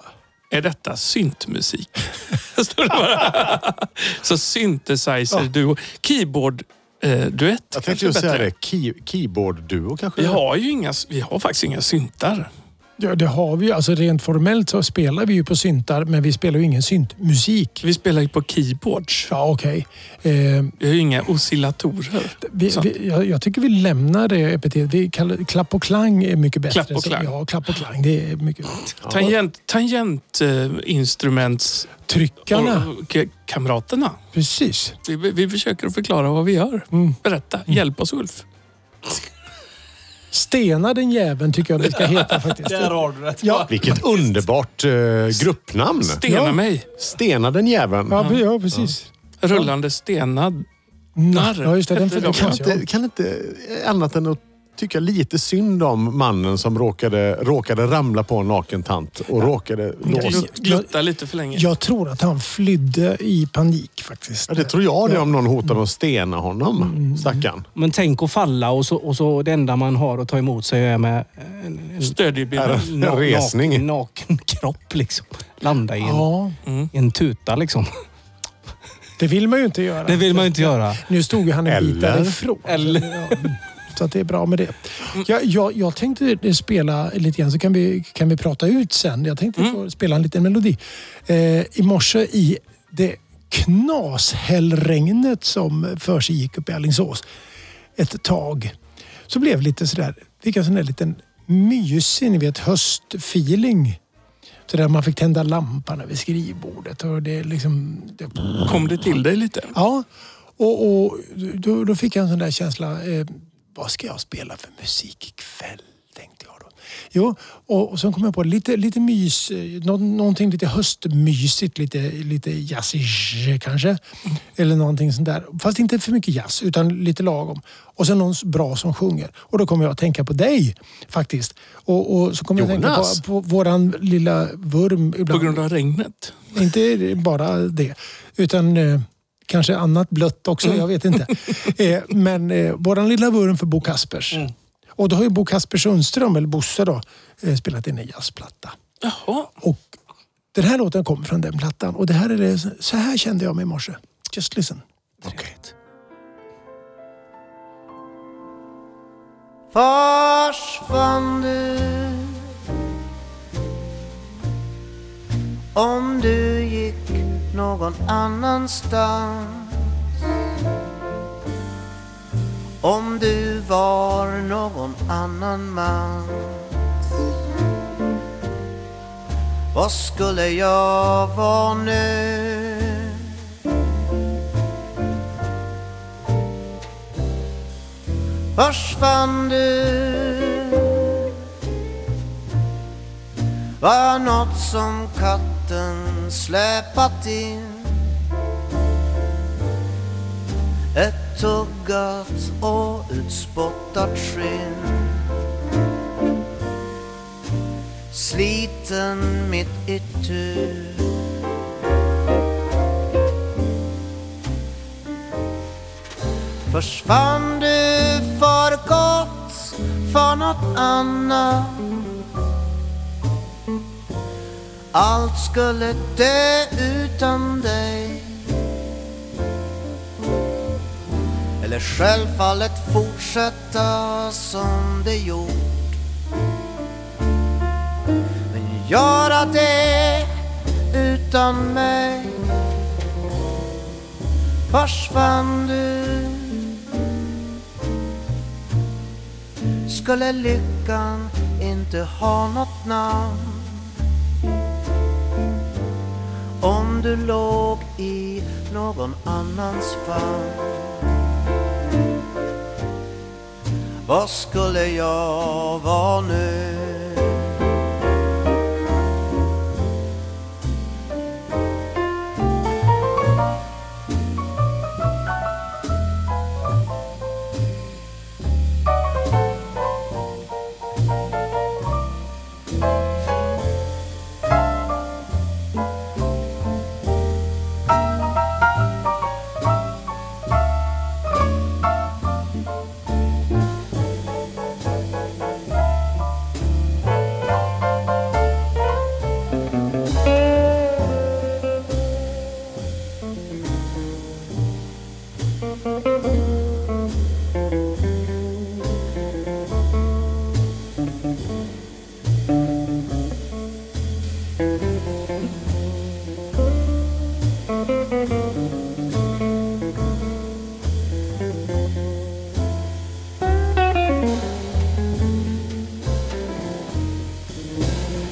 [SPEAKER 3] Är detta syntmusik? Stod det bara. så synthesizer-duo. eh, Keyboard-duett.
[SPEAKER 1] Jag tänkte just säga det. Key, Keyboard-duo kanske?
[SPEAKER 3] Vi har ju inga, vi har faktiskt inga syntar.
[SPEAKER 4] Ja, det har vi ju. Alltså rent formellt så spelar vi ju på syntar, men vi spelar ju ingen syntmusik.
[SPEAKER 3] Vi spelar ju på keyboards.
[SPEAKER 4] Ja, okej. Eh,
[SPEAKER 3] Vi har ju inga oscillatorer.
[SPEAKER 4] vi,
[SPEAKER 3] Sant.
[SPEAKER 4] vi, jag, jag tycker vi lämnar det epitet. Vi kallar, klapp och klang är mycket bättre.
[SPEAKER 3] Klapp och
[SPEAKER 4] Så-
[SPEAKER 3] klang.
[SPEAKER 4] Ja, klapp och klang. Det är mycket
[SPEAKER 3] Tangent, eh, tangentinstruments...
[SPEAKER 4] Tryckarna.
[SPEAKER 3] och- och Kamraterna.
[SPEAKER 4] Precis.
[SPEAKER 3] Vi, vi försöker att förklara vad vi gör. Berätta. Hjälp oss Ulf.
[SPEAKER 4] Stena den jäveln tycker jag det ska heta faktiskt.
[SPEAKER 2] Där har du det.
[SPEAKER 4] Ja,
[SPEAKER 1] Vilket underbart eh, gruppnamn.
[SPEAKER 3] Stena
[SPEAKER 4] Ja.
[SPEAKER 3] mig.
[SPEAKER 1] Stena den jäveln.
[SPEAKER 4] ja, pre- ja precis.
[SPEAKER 3] Rullande stenad.
[SPEAKER 4] Narr. Ja, just det. Den
[SPEAKER 3] Hette
[SPEAKER 1] Kan
[SPEAKER 3] de.
[SPEAKER 4] förklaras
[SPEAKER 1] inte, kan inte eh, annat än att tycka lite synd om mannen som råkade, råkade ramla på en naken tant och råkade låsa.
[SPEAKER 3] Gl- Glutta lite för länge.
[SPEAKER 4] Jag tror att han flydde i panik faktiskt.
[SPEAKER 1] Ja, det tror jag det om någon hotar med att stena honom. Stackarn.
[SPEAKER 2] Men tänk att falla och så, och så det enda man har att ta emot sig är med en, en
[SPEAKER 3] Stödjebilden.
[SPEAKER 1] En resning.
[SPEAKER 2] Naken, naken kropp liksom. Landa i en,
[SPEAKER 4] Ja,
[SPEAKER 2] i en tuta liksom.
[SPEAKER 4] det vill man ju inte göra.
[SPEAKER 2] Det vill man ju inte göra.
[SPEAKER 4] Nu stod ju han en bit
[SPEAKER 1] Eller-
[SPEAKER 4] därifrån.
[SPEAKER 2] Eller-
[SPEAKER 4] Ja, Så att det är bra med det. Jag, jag, jag tänkte spela lite grann så kan vi, kan vi prata ut sen. Jag tänkte få spela en liten melodi. Eh, I morse i det knashällregnet som för sig gick upp i Alingsås ett tag så blev det lite sådär, fick jag sån där liten mysig, ni vet höstfeeling. Så där man fick tända lampan över skrivbordet och det liksom, det
[SPEAKER 3] Kom det till dig lite?
[SPEAKER 4] Ja, och, och då, då fick jag en sån där känsla. Eh, vad ska jag spela för musik ikväll? Tänkte jag då. Jo, och, och sen kom jag på lite, lite mys, eh, nå, någonting lite höstmysigt, lite, lite jazzig kanske.
[SPEAKER 3] Mm.
[SPEAKER 4] Eller någonting sånt där. Fast inte för mycket jazz, utan lite lagom. Och sen någon bra som sjunger. Och då kom jag att tänka på dig faktiskt. Och, och så kom jag att tänka
[SPEAKER 1] Jonas.
[SPEAKER 4] på, på våran lilla vurm.
[SPEAKER 3] På
[SPEAKER 4] Ibland.
[SPEAKER 3] grund av regnet.
[SPEAKER 4] Inte bara det, utan eh, kanske annat blött också. Jag vet inte. eh, men eh, vår lilla vurm för Bo Kaspers.
[SPEAKER 1] Mm.
[SPEAKER 4] Och då har ju Bo Kasper Sundström, eller Bosse då, eh, spelat in en jazzplatta.
[SPEAKER 3] Jaha.
[SPEAKER 4] Och den här låten kommer från den plattan. Och det här är det, så här kände jag mig i morse. Just listen.
[SPEAKER 10] Försvann du Om du gick någon annanstans Om du var någon annan man Vad skulle jag vara nu? försvann du Var något som katten släpat in Ett tuggat och utspottat skinn Sliten mitt itu Försvann du för gott för något annat Allt skulle dö utan dig Eller självfallet fortsätta som det gjort Men göra det utan mig Försvann du skulle lyckan inte ha något namn om du låg i någon annans famn. Vad skulle jag vara nu?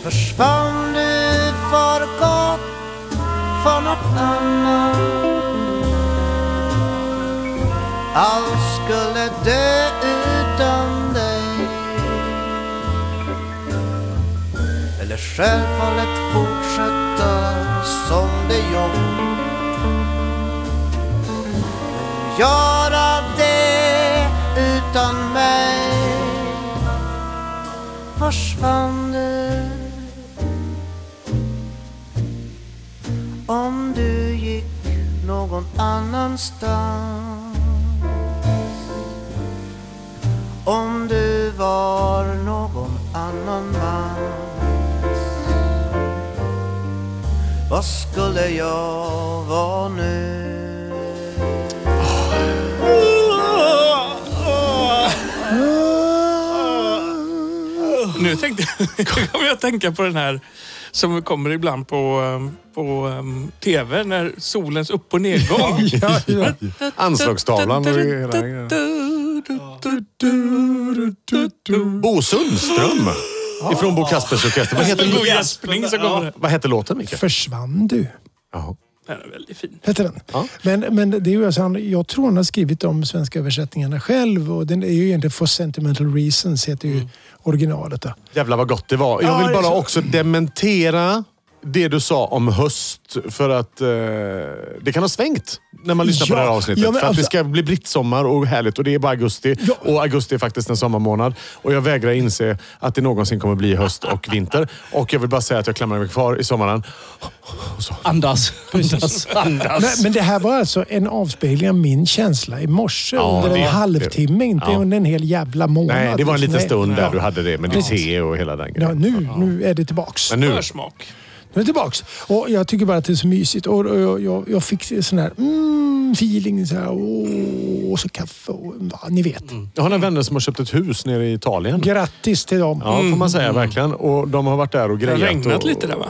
[SPEAKER 10] Försvann du för gott för något annat? Allt skulle dö utan dig. Eller självfallet fortsätta som det gjort. Men Göra det utan mig. Försvann du om du gick någon annanstans. Om du var någon annan mans. Vad skulle jag vara nu?
[SPEAKER 3] Nu tänkte jag, kommer jag att tänka på den här som kommer ibland på, um, på um, tv när solens upp och nedgång.
[SPEAKER 1] Ja, ja. Anslagstavlan och hela grejen. Bo Sundström ifrån Bo Kaspers Orkester. Vad heter,
[SPEAKER 3] God gäspning så kommer det.
[SPEAKER 1] vad heter låten, Micke?
[SPEAKER 4] Försvann du?
[SPEAKER 1] Jaha.
[SPEAKER 3] Den är väldigt fin.
[SPEAKER 4] Heter den.
[SPEAKER 1] Ja.
[SPEAKER 4] Men, men det är ju alltså, han, jag tror han har skrivit de svenska översättningarna själv. Och den är ju egentligen For Sentimental Reasons heter
[SPEAKER 1] Mm.
[SPEAKER 4] ju originalet. Då.
[SPEAKER 1] Jävlar vad gott det var. Jag
[SPEAKER 4] Ja,
[SPEAKER 1] vill
[SPEAKER 4] det är
[SPEAKER 1] bara
[SPEAKER 4] så.
[SPEAKER 1] också dementera det du sa om höst. För att eh, det kan ha svängt när man lyssnar på
[SPEAKER 4] Ja,
[SPEAKER 1] det här avsnittet.
[SPEAKER 4] ja, men
[SPEAKER 1] för att det
[SPEAKER 4] alltså-
[SPEAKER 1] ska bli brittsommar och härligt och det är bara augusti.
[SPEAKER 4] Ja.
[SPEAKER 1] Och augusti är faktiskt en sommarmånad. Och jag vägrar inse att det någonsin kommer bli höst och vinter. Och jag vill bara säga att jag klamrar mig kvar i sommaren.
[SPEAKER 2] Andas. Andas.
[SPEAKER 4] Men, men det här var alltså en avspegling av min känsla i morse
[SPEAKER 1] Ja,
[SPEAKER 4] under en
[SPEAKER 1] det-
[SPEAKER 4] halvtimme. Inte
[SPEAKER 1] ja.
[SPEAKER 4] under en hel jävla månad.
[SPEAKER 1] Nej, det var en
[SPEAKER 4] liksom.
[SPEAKER 1] liten
[SPEAKER 4] Nej.
[SPEAKER 1] stund
[SPEAKER 4] Ja.
[SPEAKER 1] där du hade det med ditt
[SPEAKER 4] Precis.
[SPEAKER 1] te och hela den
[SPEAKER 4] Ja,
[SPEAKER 1] grejen.
[SPEAKER 4] nu, nu är det tillbaks.
[SPEAKER 1] Men nu...
[SPEAKER 3] Försmak.
[SPEAKER 4] Nu är det tillbaks. Och jag tycker bara att det är så mysigt. Och, och, jag- jag, jag fick sån här mm, feeling. Så här, åh, och så kaffe och ja, ni vet.
[SPEAKER 1] Jag har några vänner som har köpt ett hus nere i Italien.
[SPEAKER 4] Grattis till dem.
[SPEAKER 1] Ja, får man säga
[SPEAKER 4] Mm.
[SPEAKER 1] verkligen. Och de har varit där och
[SPEAKER 3] Det har
[SPEAKER 1] grejat.
[SPEAKER 3] regnat
[SPEAKER 1] och,
[SPEAKER 3] lite där va?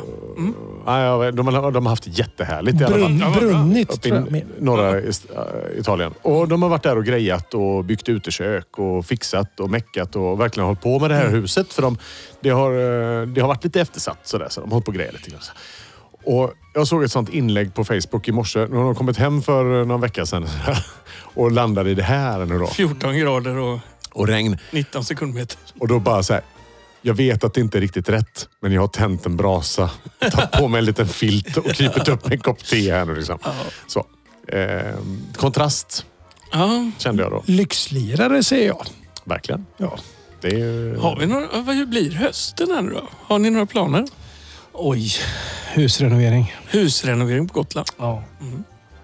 [SPEAKER 1] Ja, jag vet. de, har, de har haft jättehärligt i alla fall.
[SPEAKER 4] Brun, brunnit
[SPEAKER 1] Uppe
[SPEAKER 4] tror jag.
[SPEAKER 1] i
[SPEAKER 4] med.
[SPEAKER 1] norra ist- äh, Italien. Och de har varit där och grejat och byggt utekök och fixat och meckat och verkligen hållit på med det här
[SPEAKER 4] Mm.
[SPEAKER 1] huset. För de, det, har, eh, det har varit lite eftersatt sådär, så de har hållit på och grejat lite grann. Och jag såg ett sånt inlägg på Facebook i morse. Nu har de kommit hem för eh, någon vecka sedan och landade i det här nu då.
[SPEAKER 3] 14 grader och
[SPEAKER 1] Och regn.
[SPEAKER 3] 19 sekundmeter.
[SPEAKER 1] Och då bara så här. Jag vet att det inte är riktigt rätt, men jag har tänt en brasa, tagit på mig en liten filt och krypit upp med en kopp te här nu. Liksom. Så, eh, kontrast
[SPEAKER 3] Ja.
[SPEAKER 1] kände jag då.
[SPEAKER 4] Lyxlirare säger jag.
[SPEAKER 1] Verkligen.
[SPEAKER 4] Ja.
[SPEAKER 1] Det är ju...
[SPEAKER 3] Har vi några, vad blir hösten här nu då? Har ni några planer?
[SPEAKER 2] Oj. Husrenovering.
[SPEAKER 3] Husrenovering på Gotland.
[SPEAKER 2] Ja.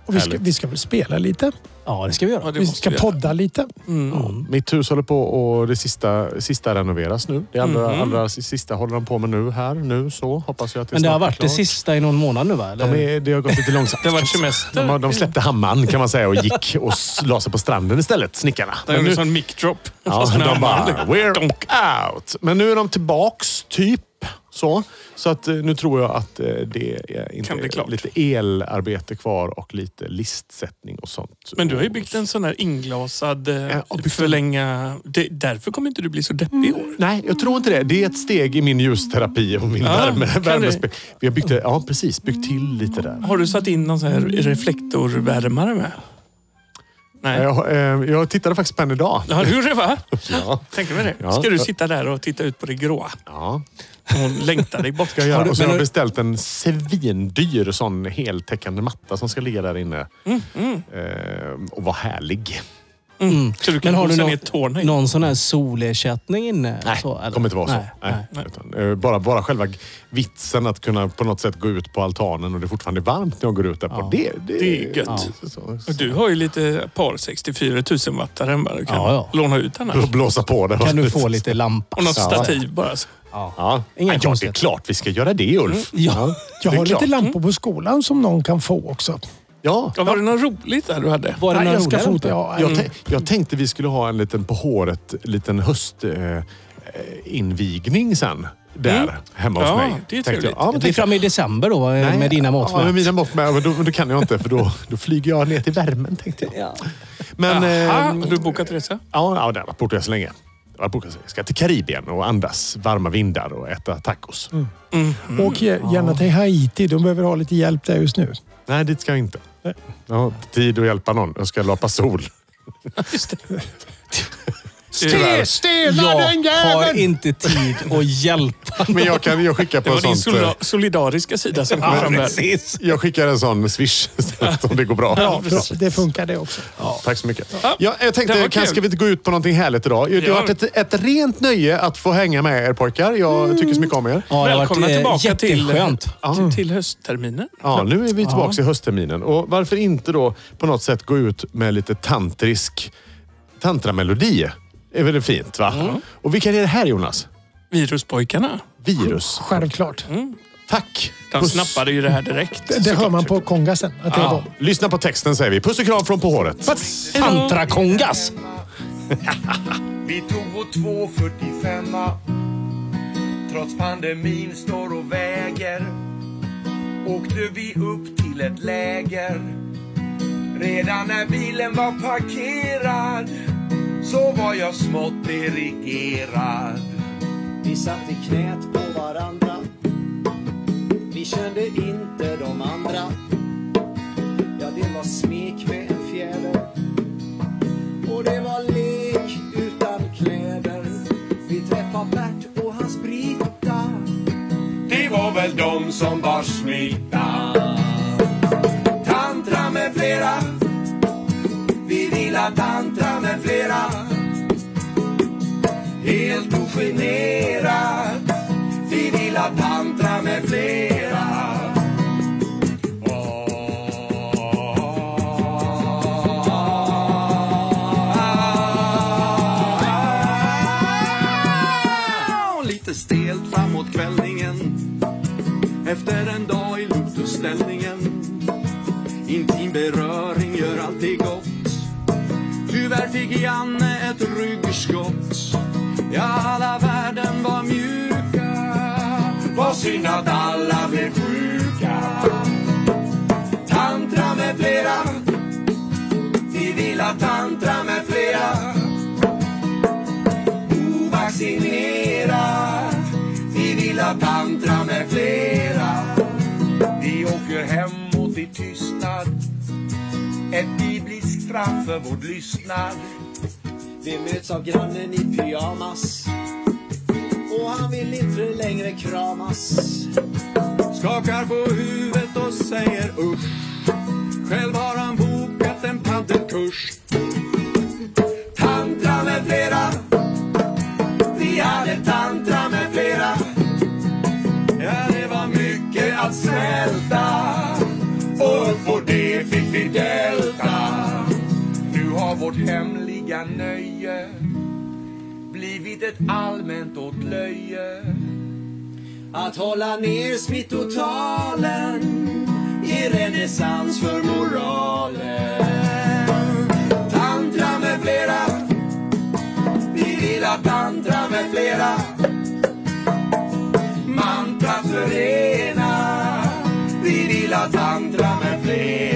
[SPEAKER 4] Och vi, ska,
[SPEAKER 1] Härligt.
[SPEAKER 4] vi ska väl spela lite.
[SPEAKER 2] ja, det ska vi
[SPEAKER 3] Ja,
[SPEAKER 2] göra.
[SPEAKER 3] det
[SPEAKER 4] Vi
[SPEAKER 3] måste
[SPEAKER 4] ska
[SPEAKER 3] vi göra.
[SPEAKER 4] podda lite.
[SPEAKER 1] Mm. Mitt hus håller på och det sista, sista renoveras nu. Det allra, allra sista håller de på med nu här. Nu så hoppas jag att det
[SPEAKER 2] Men det
[SPEAKER 1] snart
[SPEAKER 2] har
[SPEAKER 1] är
[SPEAKER 2] varit det
[SPEAKER 1] klart.
[SPEAKER 2] sista i någon månad nu va? Eller?
[SPEAKER 1] De är, det har gått lite långsamt.
[SPEAKER 3] Det har varit
[SPEAKER 1] De,
[SPEAKER 3] semester.
[SPEAKER 1] har- de släppte hammaren kan man säga och gick och s- la sig på stranden istället, snickarna.
[SPEAKER 3] Det
[SPEAKER 1] Men
[SPEAKER 3] är
[SPEAKER 1] nu-
[SPEAKER 3] en sån mic drop.
[SPEAKER 1] Ja,
[SPEAKER 3] Fast med
[SPEAKER 1] de bara,
[SPEAKER 3] armarna.
[SPEAKER 1] we're out. Men nu är de tillbaks, typ. Så, så att eh, nu tror jag att eh, det är inte
[SPEAKER 3] Kan bli klart.
[SPEAKER 1] lite elarbete kvar och lite listsättning och sånt.
[SPEAKER 3] Men du har ju byggt en sån här inglasad eh,
[SPEAKER 1] och byggt-
[SPEAKER 3] förlänga... Det, därför kommer inte du bli så deppig i år.
[SPEAKER 1] Nej, jag tror inte det. Det är ett steg i min ljusterapi och min
[SPEAKER 3] Ja,
[SPEAKER 1] värme,
[SPEAKER 3] kan
[SPEAKER 1] värmespe- Vi har byggt, ja, precis, byggt till lite där.
[SPEAKER 3] Har du satt in någon sån här reflektorvärmare med? Nej.
[SPEAKER 1] Jag, eh, jag tittade faktiskt på en idag.
[SPEAKER 3] Ja, du gjorde det va?
[SPEAKER 1] Ja.
[SPEAKER 3] Tänker mig det.
[SPEAKER 1] Ja.
[SPEAKER 3] Ska du sitta där och titta ut på det gråa?
[SPEAKER 1] Ja.
[SPEAKER 3] Hon längtar dig bort.
[SPEAKER 1] Ska jag göra.
[SPEAKER 2] Har du-
[SPEAKER 1] och så har
[SPEAKER 2] men
[SPEAKER 1] jag
[SPEAKER 2] har-
[SPEAKER 1] beställt en svindyr sån heltäckande matta som ska ligga där inne.
[SPEAKER 2] Mm,
[SPEAKER 1] Eh, och vara härlig.
[SPEAKER 3] Så du kan
[SPEAKER 2] Men har
[SPEAKER 3] gå
[SPEAKER 2] du
[SPEAKER 3] sen
[SPEAKER 2] någon,
[SPEAKER 3] ner tårna i.
[SPEAKER 2] någon sån här solersättning inne?
[SPEAKER 1] Nej,
[SPEAKER 2] så,
[SPEAKER 1] det
[SPEAKER 2] eller?
[SPEAKER 1] kommer inte vara så.
[SPEAKER 2] Nej,
[SPEAKER 1] Nej,
[SPEAKER 2] nej.
[SPEAKER 1] Utan, eh, bara, bara själva g- vitsen att kunna på något sätt gå ut på altanen och det är fortfarande varmt när jag går ut där på. Det, det,
[SPEAKER 3] Det är gött.
[SPEAKER 1] Ja. Så,
[SPEAKER 3] Och du har ju lite par 64 000 wattaren bara. Du kan
[SPEAKER 2] Ja, ja.
[SPEAKER 3] låna ut den här.
[SPEAKER 1] så, blåsa på det.
[SPEAKER 2] Kan du få lite lampa?
[SPEAKER 3] Och något
[SPEAKER 2] Ja.
[SPEAKER 3] stativ bara. så.
[SPEAKER 1] Ja,
[SPEAKER 2] Inga
[SPEAKER 1] ja det är
[SPEAKER 2] konstigheter. Mm.
[SPEAKER 1] klart vi ska göra det Ulf. Ja,
[SPEAKER 4] Jag
[SPEAKER 1] det är
[SPEAKER 4] har lite
[SPEAKER 1] klart.
[SPEAKER 4] lampor på skolan som någon kan få också.
[SPEAKER 1] Ja.
[SPEAKER 3] Ja, var det något roligt där du hade?
[SPEAKER 2] Var det
[SPEAKER 4] Nej,
[SPEAKER 2] några
[SPEAKER 4] jag ska
[SPEAKER 2] roliga
[SPEAKER 4] fota.
[SPEAKER 2] lampor?
[SPEAKER 4] Ja,
[SPEAKER 1] Jag,
[SPEAKER 3] Mm.
[SPEAKER 1] tän- jag tänkte vi skulle ha en liten på håret, liten höst... Eh, eh, invigning sen. Där
[SPEAKER 3] Mm.
[SPEAKER 1] hemma hos
[SPEAKER 3] Ja,
[SPEAKER 1] mig.
[SPEAKER 3] det är
[SPEAKER 1] Tänkte jag.
[SPEAKER 3] trevligt.
[SPEAKER 1] Ja, men
[SPEAKER 2] Det är
[SPEAKER 1] tänkte-
[SPEAKER 2] framme i december då va,
[SPEAKER 1] Nej,
[SPEAKER 2] med dina mått
[SPEAKER 1] Ja, med
[SPEAKER 2] mätt.
[SPEAKER 1] mina mått med. Men då, men då kan jag inte för då, då flyger jag ner till värmen tänkte jag. Men...
[SPEAKER 3] Aha,
[SPEAKER 1] ehm,
[SPEAKER 3] har du bokat resa?
[SPEAKER 1] Ja, ja där har jag varit borta så länge. Jag har bokat så länge. ska till Karibien och andas varma vindar och äta tacos.
[SPEAKER 3] Mm.
[SPEAKER 4] Åk ge- gärna till Haiti. De behöver ha lite hjälp där just nu.
[SPEAKER 1] Nej, dit ska jag inte. Jag har inte tid att hjälpa någon. Jag ska lapa sol.
[SPEAKER 3] Tyvärr.
[SPEAKER 2] Jag har inte tid att hjälpa
[SPEAKER 1] Men jag, kan, jag skickar
[SPEAKER 3] Det
[SPEAKER 1] på
[SPEAKER 3] var
[SPEAKER 1] en
[SPEAKER 3] din
[SPEAKER 1] sånt... eh,
[SPEAKER 3] solida- solidariska sida som kom fram där.
[SPEAKER 2] precis.
[SPEAKER 1] Jag skickar en sån swish istället, om det går bra.
[SPEAKER 4] Bra, det funkar det också.
[SPEAKER 1] Tack så mycket.
[SPEAKER 3] Ja.
[SPEAKER 1] Ja, jag
[SPEAKER 3] Det
[SPEAKER 1] tänkte,
[SPEAKER 3] var
[SPEAKER 1] kan,
[SPEAKER 3] kul.
[SPEAKER 1] ska vi inte gå ut på någonting härligt idag? Det
[SPEAKER 3] Ja.
[SPEAKER 1] har varit ett, ett rent nöje att få hänga med er pojkar. Jag
[SPEAKER 3] Mm.
[SPEAKER 1] tycker så mycket om er.
[SPEAKER 2] Ja, det har
[SPEAKER 3] Välkomna
[SPEAKER 2] varit eh,
[SPEAKER 3] tillbaka till,
[SPEAKER 2] jätteskönt.
[SPEAKER 3] till, till höstterminen.
[SPEAKER 1] Ja, nu är vi tillbaka i höstterminen. Och varför inte då på något sätt gå ut med lite tantrisk tantramelodi? är väl fint va?
[SPEAKER 3] Mm.
[SPEAKER 1] Och vilka är det här Jonas?
[SPEAKER 3] Viruspojkarna.
[SPEAKER 1] Virus.
[SPEAKER 4] Självklart.
[SPEAKER 1] Tack!
[SPEAKER 3] De
[SPEAKER 1] Puss.
[SPEAKER 3] snappade ju det här direkt.
[SPEAKER 4] Det, det hör man på kongasen. Att det är de.
[SPEAKER 1] Lyssna på texten säger vi. Puss och kram från på håret.
[SPEAKER 2] Tantrakongas.
[SPEAKER 11] Vi tog vår 245 Trots pandemin står och väger Åkte vi upp till ett läger Redan när bilen var parkerad Så var jag smått erigerad
[SPEAKER 10] Vi satt i knät på varandra Vi kände inte de andra Ja, det var smek med en fjäder Och det var lek utan kläder Vi träffade Bert och hans Brita
[SPEAKER 11] Det var väl de som bar smitta Tantra med flera Vi vill tantra med flera Helt ogenerat Vi vill tantra med flera Ah, Lite stelt framåt kvällningen Efter en dag i lotusställningen Intim beröring gör alltid gott Tyvärr fick Janne ett ryggskott Ja, alla värden var mjuka Vad synd att alla blev sjuka Tantra med flera Vi vill ha tantra med flera ovaccinerat. Vi vill ha tantra med flera. Vi åker hemåt i tystnad. Ett bibliskt straff för vår lyssnad.
[SPEAKER 10] Vi möts av grannen i pyjamas Och han vill inte längre kramas
[SPEAKER 11] Skakar på huvudet och säger usch. Själv har han bokat en panterkurs. Tantra med flera. Vi hade tantra med flera. Ja, det var mycket att svälta. Och upp på det fick vi delta. Nu har vårt hemliga nöje blivit ett allmänt åtlöje.
[SPEAKER 10] Att hålla ner smittotalen ger renässans för moralen.
[SPEAKER 11] Tantra med flera Vi vill ha tantra med flera Man att tantra med flera